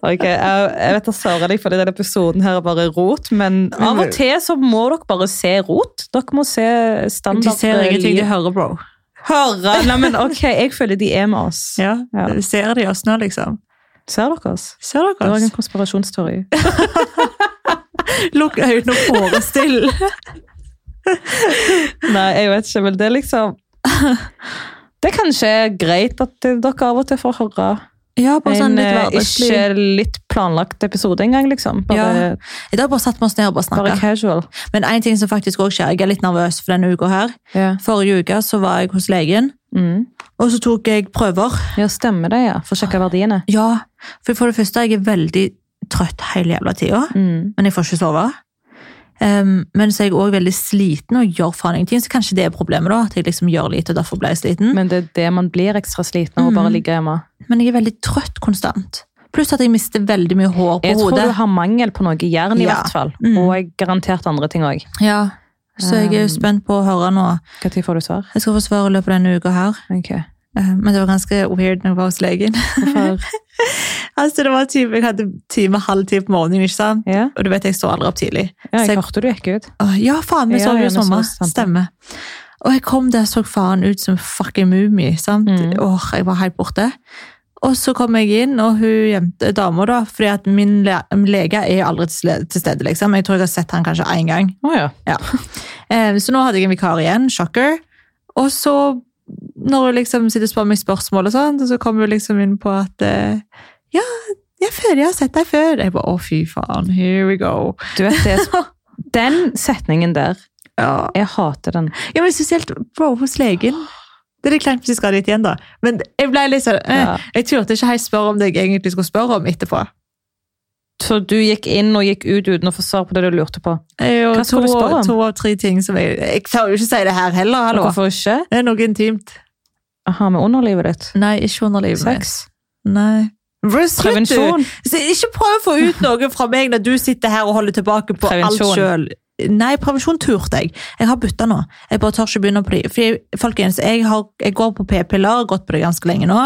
S2: Ok, jeg, jeg vet jeg sører deg fordi denne episoden her er bare rot, men av og til så må dere bare se rot. Dere må se standard.
S1: De ser ingenting, de
S2: liv.
S1: hører, bro.
S2: Høre. Nei, men ok, jeg føler de er med oss.
S1: Ja,
S2: Ja.
S1: Ser de oss nå, liksom?
S2: Ser dere oss?
S1: Ser
S2: Det
S1: dere
S2: var en
S1: oss?
S2: konspirasjonsteori.
S1: Lukk øynene og forestill.
S2: Nei, jeg vet ikke, men det er liksom... Det er kanskje greit at dere av og til får høre
S1: Ja, bare sånn
S2: en
S1: litt
S2: eh,
S1: hverdagslig.
S2: ikke litt planlagt episode engang, liksom. Bare,
S1: I dag bare satt vi oss ned og bare
S2: bare
S1: snakket.
S2: casual.
S1: Men en ting som faktisk også skjer, jeg er litt nervøs for denne uka her.
S2: Ja.
S1: Forrige uke så var jeg hos legen,
S2: Mm.
S1: og så tok jeg prøver.
S2: ja, stemmer det, ja. For å sjekke verdiene.
S1: Ja, for for det første, jeg er veldig trøtt hele jævla tida,
S2: Mm.
S1: men jeg får ikke sove. Um, men så er jeg også veldig sliten og gjør faen ingenting, så kanskje det er problemet da, at jeg liksom gjør lite, og derfor ble jeg sliten. Men,
S2: Men det er det man blir ekstra sliten av å bare
S1: Mhm.
S2: ligge hjemme.
S1: jeg er veldig trøtt konstant. Pluss at jeg mister veldig mye hår på
S2: Jeg tror
S1: hodet.
S2: du har mangel på noe jern i
S1: Ja.
S2: hvert fall.
S1: Mhm.
S2: Og garantert andre ting òg.
S1: Ja, så jeg er
S2: Um.
S1: spent på å høre nå.
S2: Når får du svar?
S1: Jeg skal få svar i løpet av denne uka her.
S2: Ok.
S1: Eh, Men det var ganske weird når jeg var hos legen.
S2: Hvorfor?
S1: altså, det var typ, jeg hadde time halv ti på morgenen, ikke sant?
S2: Ja,
S1: Og du vet, jeg står aldri opp tidlig.
S2: ja
S1: Så
S2: jeg
S1: jeg-
S2: hørte du gikk ut.
S1: Åh, ja, faen, vi
S2: Ja,
S1: så
S2: ja,
S1: jo
S2: vi så
S1: sommer.
S2: oss sammen.
S1: Stemmer. Og jeg kom der og så faen ut som fucking mumie, sant?
S2: Mm.
S1: Åh, jeg var helt borte. Og så kom jeg inn, og hun jente dama da, fordi at min le lege er aldri til sle- til stede, liksom. Jeg tror jeg har sett han kanskje en gang.
S2: Å ja.
S1: Eh, Så nå hadde jeg en vikar igjen, shocker. Og så, når hun liksom sitter og spør meg spørsmål og sånn, så kom hun liksom inn på at eh, ja, jeg føler jeg har sett deg før. Jeg bare, å fy faen, here we go.
S2: Du vet det. Den setningen der,
S1: Ja,
S2: jeg hater den.
S1: ja men spesielt bro hos legen. Det er litt kleint hvis jeg skal dit igjen da. Men jeg ble litt sånn, eh,
S2: Ja.
S1: jeg turte ikke helt spørre om det jeg egentlig skulle spørre om etterpå.
S2: Så du gikk inn og gikk ut uten å få svar på det du lurte på?
S1: Eh, Og
S2: Hva
S1: to,
S2: skulle du spørre om?
S1: to av tre ting som jeg, jeg klarer jo ikke å si det her heller, hallo.
S2: Hvorfor ikke?
S1: Det er noe intimt.
S2: Aha, med underlivet ditt?
S1: Nei, ikke underlivet mitt.
S2: Sex?
S1: Nei. Bro, slutt, du.
S2: Prevensjon?
S1: Så ikke prøv å få ut noe fra meg når du sitter her og holder tilbake på
S2: Prevensjon.
S1: alt sjøl. Nei, prevensjon turte jeg. Jeg har bytta nå. Jeg bare tør ikke begynne på de. Fordi, folkens, jeg, har, jeg går på p-piller, har gått på det ganske lenge nå,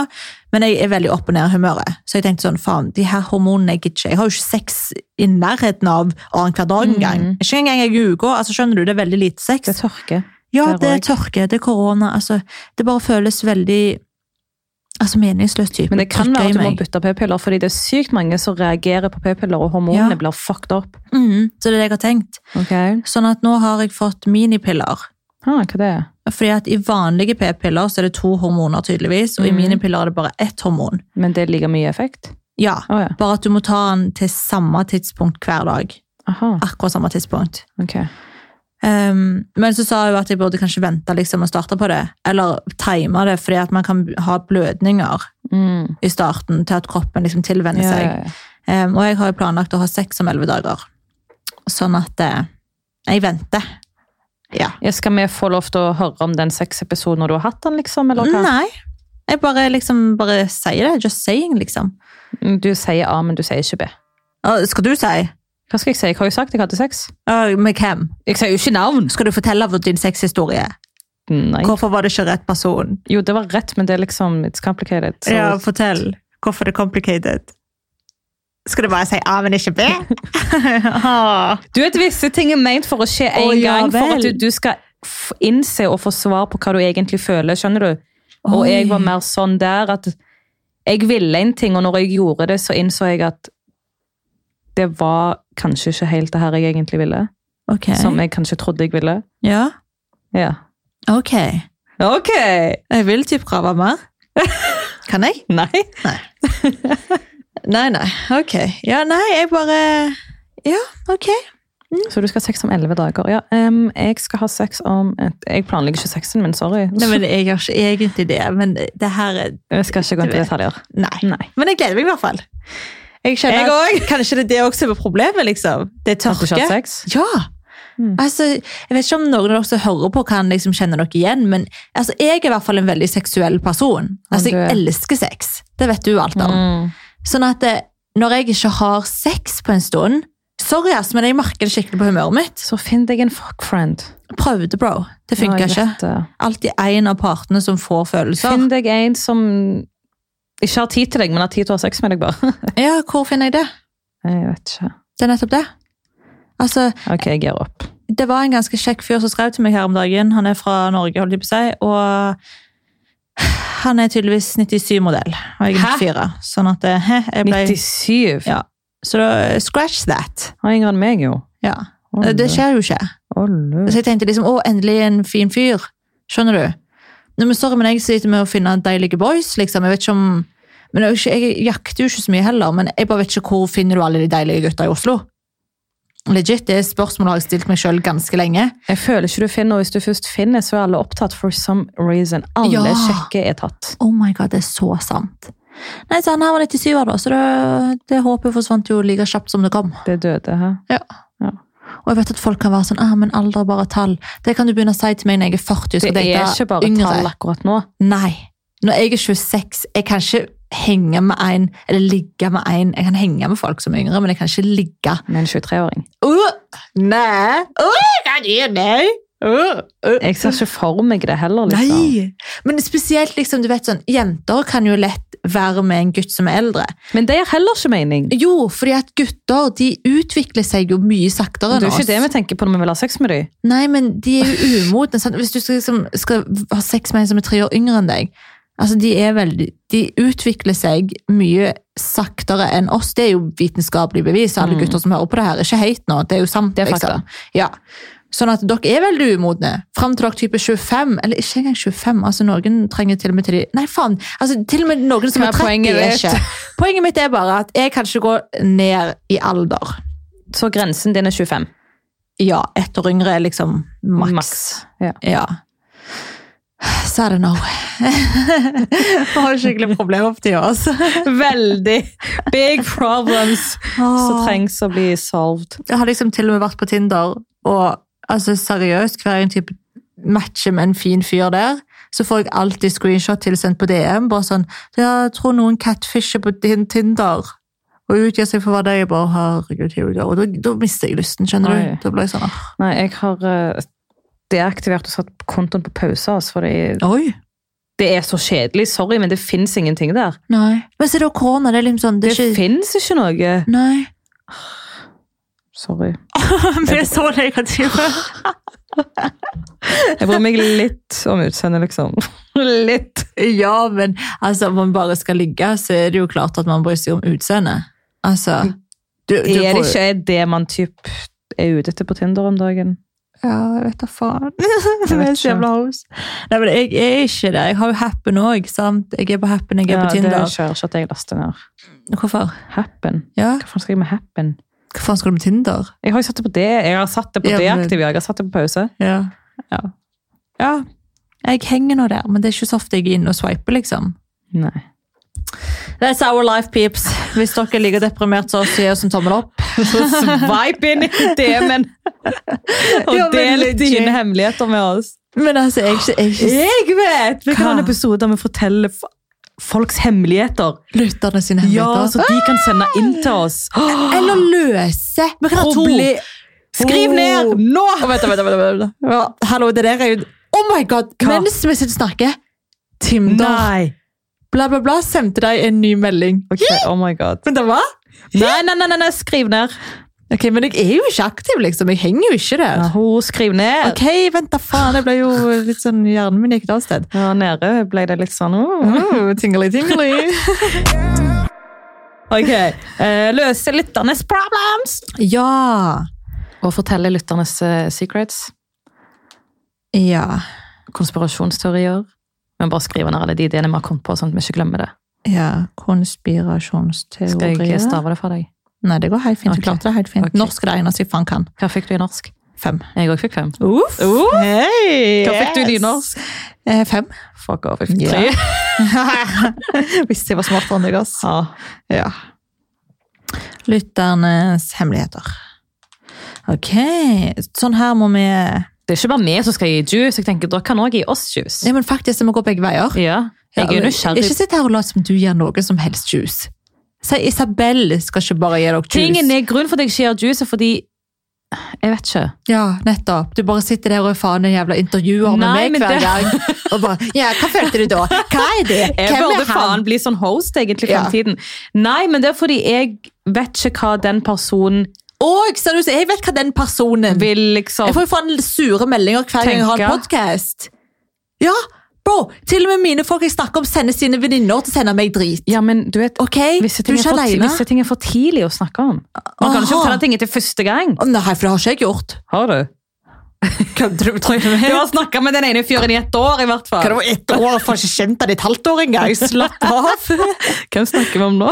S1: men jeg er veldig opp og ned i humøret. Så jeg tenkte sånn, faen, de her hormonene jeg gidder ikke. Jeg har jo ikke sex i nærheten av annenhver dag engang.
S2: Mhm.
S1: Ikke engang jeg uker. Altså, skjønner du, det er veldig lite sex.
S2: Det tørker.
S1: Ja,
S2: Der
S1: det er
S2: òg.
S1: tørke, det er korona. Altså, det bare føles veldig altså, meningsløst. type.
S2: Men det kan
S1: Trykker i
S2: være at du må
S1: meg.
S2: bytte p-piller, fordi det er sykt mange som reagerer på p-piller, og hormonene
S1: Ja.
S2: blir fucked up.
S1: Mm. Mhm, så det er det jeg har tenkt.
S2: Ok.
S1: Sånn at nå har jeg fått minipiller.
S2: Ah, hva det er?
S1: Fordi at i vanlige p-piller så er det to hormoner, tydeligvis, og i
S2: Mhm.
S1: mine piller er det bare ett hormon.
S2: Men det er like mye effekt?
S1: Ja,
S2: Å ja.
S1: bare at du må ta den til samme tidspunkt hver dag.
S2: Aha,
S1: Akkurat samme tidspunkt.
S2: ok.
S1: Ehm, men så sa hun at jeg burde kanskje vente liksom å starte på det, eller time det, fordi at man kan ha blødninger
S2: Mm.
S1: i starten til at kroppen liksom tilvenner
S2: Ja,
S1: seg.
S2: ja, ja.
S1: Ehm, og jeg har jo planlagt å ha seks om elleve dager. Sånn at eh, jeg venter. Ja.
S2: Ja, skal vi få lov til å høre om den sexepisoden når du har hatt den, liksom? Eller hva?
S1: Nei. Jeg bare liksom bare sier det. Just saying, liksom.
S2: Du sier A, men du sier ikke B.
S1: Å, skal du si?
S2: Hva skal jeg si? Jeg har jo sagt jeg hadde sex.
S1: Å, med hvem?
S2: Jeg sier jo ikke navn!
S1: Skal du fortelle om din sexhistorie?
S2: Nei.
S1: Hvorfor var det ikke rett person?
S2: Jo, det var rett, men det er liksom It's complicated. så-
S1: Ja, fortell. Hvorfor det er complicated? Skal du bare si A, men ikke B? Ah.
S2: Du vet, visse ting er ment for å skje en
S1: Å, ja
S2: gang, for
S1: vel.
S2: at du, du skal f- innse og få svar på hva du egentlig føler, skjønner du? Og
S1: Oi.
S2: jeg var mer sånn der at jeg ville en ting, og når jeg gjorde det, så innså jeg at det var kanskje ikke helt det her jeg egentlig ville,
S1: Ok.
S2: som jeg kanskje trodde jeg ville.
S1: Ja.
S2: Ja.
S1: Ok.
S2: Ok!
S1: Jeg vil typ prøve mer. Kan jeg?
S2: Nei.
S1: Nei, nei. Ok. Ja, nei, jeg bare Ja, ok.
S2: Så du skal ha sex om 11 dager. Ja, em, jeg skal ha sex om... Et, jeg planlegger ikke sexen min, sorry.
S1: Nei, men Jeg gjør ikke egentlig det, men det her er
S2: Jeg skal ikke gå inn på detaljer.
S1: Nei.
S2: Nei.
S1: Men jeg gleder meg i hvert fall. Jeg skjønner
S2: Jeg
S1: at Kanskje det er det også som er problemet, liksom. Det er
S2: Har du ikke hatt
S1: tørke.
S2: sex?
S1: Ja!
S2: Mm.
S1: Altså, jeg vet ikke om noen av dere som hører på, kan liksom kjenne dere igjen, men altså, jeg er i hvert fall en veldig seksuell person.
S2: Ja,
S1: Altså,
S2: du
S1: jeg
S2: er.
S1: elsker sex. Det vet du alt om.
S2: Mm.
S1: Sånn at eh, når jeg ikke har sex på en stund Sorry, ass, men jeg merker det skikkelig på humøret mitt.
S2: Så finn deg en fuck friend.
S1: Prøvde, bro. Det
S2: Ja,
S1: funker
S2: jeg
S1: ikke.
S2: vet det.
S1: Alltid en av partene som får følelser.
S2: Finn deg en som ikke har tid til deg, men har tid til å ha sex med deg, bare.
S1: Ja, hvor finner jeg det?
S2: Jeg vet ikke.
S1: Det er nettopp det. Altså,
S2: Ok, jeg gir opp.
S1: det var en ganske kjekk fyr som skrev til meg her om dagen. Han er fra Norge, holdt jeg på å si. Og han er tydeligvis 97-modell, og jeg er
S2: Hæ?
S1: 94. Sånn at eh, hæ, jeg ble
S2: 97?
S1: Ja. Så da, scratch that.
S2: Han er yngre enn meg, jo.
S1: Ja.
S2: Oh
S1: Det skjer jo ikke.
S2: Ollu.
S1: Så jeg tenkte liksom, å, endelig en fin fyr. Skjønner du? Nei, men sorry, men jeg sliter med å finne deilige boys, liksom. Jeg vet ikke om men jeg, er jo ikke- jeg jakter jo ikke så mye heller, men jeg bare vet ikke hvor finner du alle de deilige gutta i Oslo. Legit, det spørsmålet har jeg stilt meg sjøl ganske lenge.
S2: Jeg føler ikke du finner, og hvis du først finner, så er alle opptatt for some reason. Alle
S1: Ja.
S2: kjekke er tatt.
S1: Oh my god, det er så sant. Nei, så han her var 97 år da, så det, det håpet forsvant jo like kjapt som det kom.
S2: Det er døde, hæ?
S1: Og jeg vet at folk kan være sånn, ah, men alder er bare tall. Det kan du begynne å si til meg når jeg er 40 og
S2: Det
S1: skal
S2: er ikke
S1: date
S2: bare
S1: yngre.
S2: tall akkurat nå.
S1: Nei. Når jeg er 26, jeg kan ikke henge med en, eller ligge med en. Jeg kan henge med folk som er yngre, men jeg kan ikke ligge.
S2: Med en 23-åring.
S1: Uh, nei. Uh, kan jeg, nei. Uh, uh.
S2: Jeg ser ikke for meg det heller, liksom.
S1: Nei, men spesielt liksom, du vet sånn, jenter kan jo lett være med en gutt som er eldre.
S2: Men det gir heller ikke mening.
S1: Jo, fordi at gutter de utvikler seg jo mye saktere enn
S2: Det er jo
S1: oss.
S2: ikke det vi tenker på når vi vil ha sex med dem.
S1: Nei, men de er jo umodne. Sant? Hvis du skal, liksom, skal ha sex med en som er tre år yngre enn deg altså de, er veldig, de utvikler seg mye saktere enn oss. Det er jo vitenskapelig bevis. Alle
S2: Mm.
S1: gutter som hører på det her, er ikke heit nå. Det er jo sant. liksom.
S2: Det er fakta.
S1: Ja. Sånn at dere er veldig umodne. Fram til dere type 25, eller ikke engang 25. altså Noen trenger til og med til de Nei, faen! altså Til og med noen som
S2: Hva er
S1: er 30,
S2: poenget
S1: er
S2: ditt?
S1: ikke Poenget mitt er bare at jeg kan ikke gå ned i alder.
S2: Så grensen din er 25.
S1: Ja, ett år yngre er liksom maks.
S2: Maks, ja.
S1: Så er det no. Vi har skikkelig problemer for tida, altså.
S2: Veldig. Big problems. som trengs å bli solved.
S1: Ah. Jeg har liksom til og med vært på Tinder, og altså seriøst, hver gang jeg typ matcher med en fin fyr der, så får jeg alltid screenshot tilsendt på DM, bare sånn, jeg tror noen catfisher på din Tinder, og utgjør seg for hva det er, jeg bare, herregud, here we go. Og da, da mister jeg lysten, skjønner
S2: Oi.
S1: du? Da ble jeg sånn, ah,
S2: Nei, jeg har eh, deaktivert og satt kontoen på pause, altså, fordi
S1: oi,
S2: det er så kjedelig. Sorry, men det fins ingenting der.
S1: nei. Men så er det jo korona, det er liksom sånn,
S2: Det,
S1: det er ikke...
S2: fins ikke noe.
S1: Nei.
S2: Sorry.
S1: Vi er så negative.
S2: Jeg bryr meg litt om utseendet, liksom. Litt.
S1: Ja, men altså, om man bare skal ligge, så er det jo klart at man bryr seg om utseendet. Altså, du, du
S2: Er det
S1: får-
S2: ikke det man typ er ute etter på Tinder om dagen?
S1: Ja, jeg vet da faen. Det er
S2: vet
S1: så jævla hos. Nei, men jeg er ikke det. Jeg har jo Happen òg, sant? Jeg er på Happen, jeg er på
S2: det
S1: Tinder.
S2: kjører ikke at jeg laster ned.
S1: Hvorfor?
S2: Happen.
S1: Ja,
S2: Hva faen skal jeg med happen?
S1: hva faen skal du med Tinder?
S2: Jeg har jo satt det på det. Jeg har satt det på
S1: Ja, men-
S2: deaktiv. Jeg har satt det på pause.
S1: Ja.
S2: Ja. ja.
S1: Jeg henger nå der, men det er ikke så ofte jeg er inne og swiper, liksom.
S2: Nei.
S1: That's our life, peeps. Hvis dere er like deprimert som oss, gi oss en tommel opp.
S2: Så swipe inn i DM-en og
S1: Ja, men
S2: del
S1: legit.
S2: dine hemmeligheter med oss.
S1: Men altså, jeg, er ikke- jeg, er ikke
S2: Jeg vet! Vi kan ha en
S1: Hva?
S2: episode der vi forteller f- folks hemmeligheter.
S1: lytterne sine
S2: Ja,
S1: hemmeligheter.
S2: Så de kan sende inn til oss.
S1: Eller løse Ah. Vi kan ha to.
S2: Proble- Skriv ned nå!
S1: Å, Vent, vent, vent, vent, vent. Ja, Hallo, det der er jo Oh my god!
S2: Hva?
S1: Mens vi sitter og snakker, Tinder
S2: Nei!
S1: Bla, bla, bla sendte deg en ny melding.
S2: Ok, oh my god.
S1: Men det var?
S2: Nei, nei, nei, nei, nei, skriv ned.
S1: Ok, Men jeg er jo ikke aktiv, liksom. Jeg henger jo ikke der.
S2: Ja, hun skriv ned.
S1: Ok, vent da faen. Jeg ble jo litt sånn Hjernen min gikk et annet sted.
S2: Ja, nede ble det litt sånn oh.
S1: Oh, tingly, tingly.
S2: Ok. Eh, løse lytternes problems!
S1: ja.
S2: Og fortelle lytternes eh, secrets.
S1: Ja.
S2: Konspirasjonsteorier. Men bare skrive ned alle de ideene vi har kommet på, sånn at vi ikke glemmer det.
S1: ja.
S2: Skal jeg
S1: Konspirasjonsteorier.
S2: stave det for deg?
S1: Nei, det går helt fint. Du
S2: Ok.
S1: klarte det helt fint.
S2: Ok.
S1: Norsk er det eneste jeg faen kan.
S2: Hva fikk du i norsk?
S1: Fem.
S2: Jeg òg fikk fem.
S1: Uff. Hei,
S2: Hva fikk du i
S1: yes.
S2: nynorsk?
S1: Eh, fem.
S2: Fuck off, jeg fikk
S1: Ja.
S2: tre.
S1: Hvis jeg var smartere enn deg, ass.
S2: Ja.
S1: Ja. Lytternes hemmeligheter. Ok, sånn her må vi Ja,
S2: Det er ikke bare vi som skal gi juice. Jeg tenker, Dere kan òg gi oss juice.
S1: men faktisk, det må gå begge veier.
S2: Ja. Jeg er
S1: men
S2: jo nysgjerrig.
S1: Ikke sitt her og lat som du gir noe som helst juice. Si Isabel skal ikke bare gi dere juice.
S2: Tingen er grunnen for at jeg ikke gir juice, er fordi Jeg vet ikke.
S1: Ja, nettopp. Du bare sitter der og er faen en jævla intervjuer med
S2: Nei,
S1: meg
S2: men
S1: hver
S2: det-
S1: gang. Og bare Ja, hva følte du da? Hva er det?
S2: Jeg burde faen bli sånn host egentlig i
S1: Ja.
S2: fremtiden. Nei, men det er fordi jeg vet ikke hva den personen
S1: Og seriøst, jeg vet hva den personen
S2: vil liksom
S1: Jeg får jo faen sure meldinger hver gang jeg har en
S2: Tenker.
S1: podkast. Ja, bro! Til og med mine folk jeg snakker om, sender sine venninner til å sende meg drit.
S2: Ja, men du vet
S1: Ok?
S2: Visse
S1: Du
S2: ting,
S1: er
S2: er
S1: ikke
S2: for, ti-
S1: aleine?
S2: visse ting er for tidlig å snakke om. Man kan ikke
S1: Aha.
S2: fortelle ting etter første gang.
S1: Å, Nei, for det har ikke jeg gjort.
S2: Har du?
S1: Kødder du med
S2: Du har
S1: trynet
S2: snakka med den ene fyren i et år, i hvert
S1: Hva
S2: fall.
S1: var ett år? Jeg Får ikke kjent deg i et halvt år engang. Slapp av.
S2: Hvem snakker vi om nå?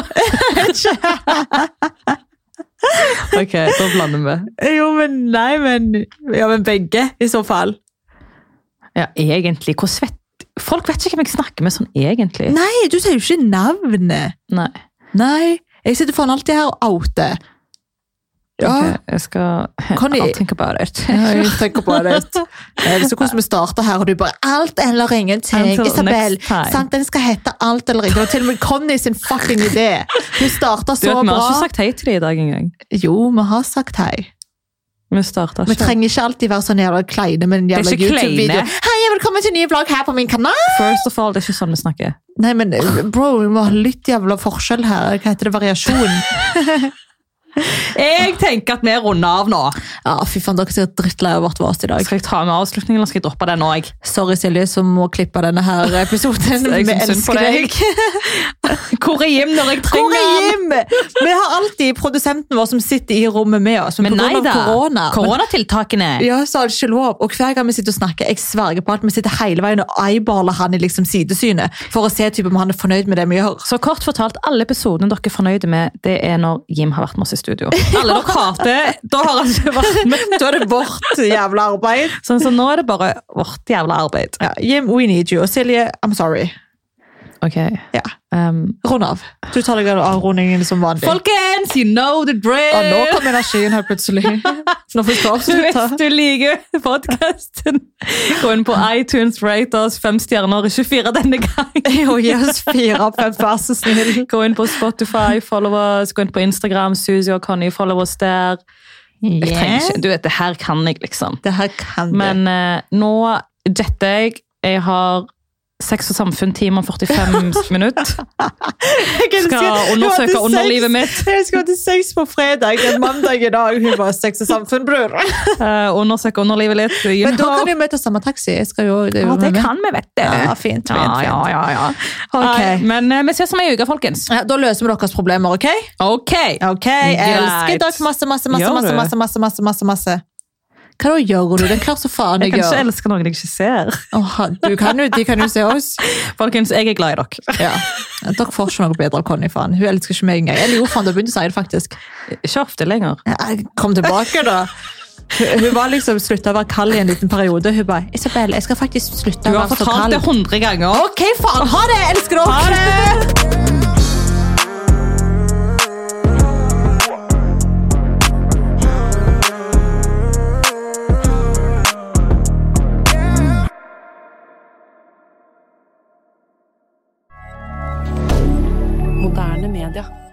S2: ok, da blander vi.
S1: Jo, men nei, men Ja, men begge, i så fall.
S2: Ja, egentlig, hvor svett Folk vet ikke hvem jeg snakker med sånn egentlig.
S1: Nei, du sier jo ikke navnet.
S2: Nei.
S1: Nei. Jeg sitter faen alltid her og outer. Ja.
S2: Ok, jeg skal
S1: Conny-
S2: I'll think about it.
S1: Ja, jeg tenker på det. Jeg vet ikke hvordan vi starter her, og du bare alt eller ingenting.
S2: Until
S1: Isabel,
S2: next time.
S1: sant, den skal hete alt eller ingenting. Det var til og med Conny sin fucking idé. Hun starta så
S2: Du vet, Vi har
S1: bra.
S2: ikke sagt hei til dem i dag engang.
S1: Jo, vi har sagt hei.
S2: Vi starter
S1: Vi
S2: ikke.
S1: trenger ikke alltid være sånn jævla kleine med en
S2: er
S1: jævla
S2: ikke
S1: YouTube-video.
S2: kleine.
S1: Hei, velkommen til en ny vlogg her på min kanal!
S2: First of all, det er ikke sånn vi snakker.
S1: Nei, men eh, bro, vi må ha litt jævla forskjell her. Hva heter det? Variasjon?
S2: Jeg tenker at vi runder av nå.
S1: Ja, fy faen, dere er sikkert drittlei av vårt vas i dag.
S2: Skal jeg ta med avslutningen, eller skal jeg droppe den òg?
S1: Sorry, Silje, som må klippe denne her episoden. Vi
S2: Jeg synes synd på
S1: elsker
S2: deg.
S1: deg.
S2: Hvor er Jim når jeg
S1: Hvor
S2: trenger
S1: er
S2: han?
S1: Jim? Vi har alltid produsenten vår som sitter i rommet med oss, men,
S2: Men
S1: på
S2: nei
S1: grunn
S2: da.
S1: av korona men-
S2: Koronatiltakene.
S1: ja, så har det ikke lov. Og hver gang vi sitter og snakker, jeg sverger på at vi sitter hele veien og eyeballer han i liksom sidesynet, for å se typ, om han er fornøyd med det vi gjør.
S2: Så kort fortalt, alle episodene dere er fornøyde med, det er når Jim har vært med oss i studio. Alle dere hater, da har han ikke vært med.
S1: Da er det vårt jævla arbeid.
S2: Sånn, så nå er det bare vårt jævla arbeid.
S1: Ja, Jim, we need you. Og Silje, I'm sorry.
S2: Ok.
S1: Ja.
S2: Um,
S1: Rund av. Du tar deg av avrundingen som vanlig.
S2: folkens, you know the drill!
S1: ja, nå kom energien her plutselig. Nå får vi avslutte.
S2: Hvis du liker podkasten, gå inn på iTunes, rate oss fem stjerner, ikke fire denne gangen.
S1: Og gi oss fire av fem, vær så snill.
S2: Gå inn på Spotify, follow oss, gå inn på Instagram, Suzy og Conny, follow oss der. Jeg trenger ikke, du vet, det her kan jeg liksom.
S1: Det her kan du.
S2: Men eh, nå jetter jeg. Jeg har Sex og samfunn-time om 45 minutter.
S1: Jeg elsker-
S2: Skal
S1: Hun hadde
S2: undersøke
S1: sex.
S2: underlivet mitt.
S1: Jeg skal til sex på fredag, en mandag i dag. Hun var sex og samfunn, bror.
S2: Eh, undersøke underlivet litt. you
S1: Men da
S2: know.
S1: kan vi møte samme taxi. Jeg skal jo, det er jo
S2: Ja, det
S1: med.
S2: kan vi, vet du.
S1: Ja, fint, fint,
S2: Ja, ja,
S1: fint.
S2: ja, ja.
S1: Ok.
S2: Nei, Men eh, vi ses om ei uke, folkens.
S1: Ja, da løser vi deres problemer, OK?
S2: Ok.
S1: Ok, Jeg elsker
S2: Greit.
S1: dere masse, masse,
S2: Gjør
S1: masse, masse,
S2: du?
S1: masse, masse, masse, masse, masse. Hva da gjør du? Det er klart så faen
S2: Jeg
S1: jeg
S2: kan ikke
S1: gjør.
S2: elske noen jeg ikke ser.
S1: Åh, du kan jo, de kan jo se oss.
S2: Folkens, jeg er glad i dere.
S1: Ja. Dere får ikke noe bedre av Conny, faen. Hun elsker ikke meg engang. Eller jo, faen, da begynte hun å si det faktisk.
S2: Ikke ofte lenger.
S1: Ja, jeg Kom tilbake, da. Hun hun var liksom slutta å være kald i en liten periode. Hun bare 'Isabel, jeg skal faktisk slutte å
S2: Du har
S1: være så
S2: fortalt
S1: kald'.
S2: det hundre ganger.
S1: Ok, faen! Ha det! Elsker dere!
S2: Ha det!
S4: Moderne media.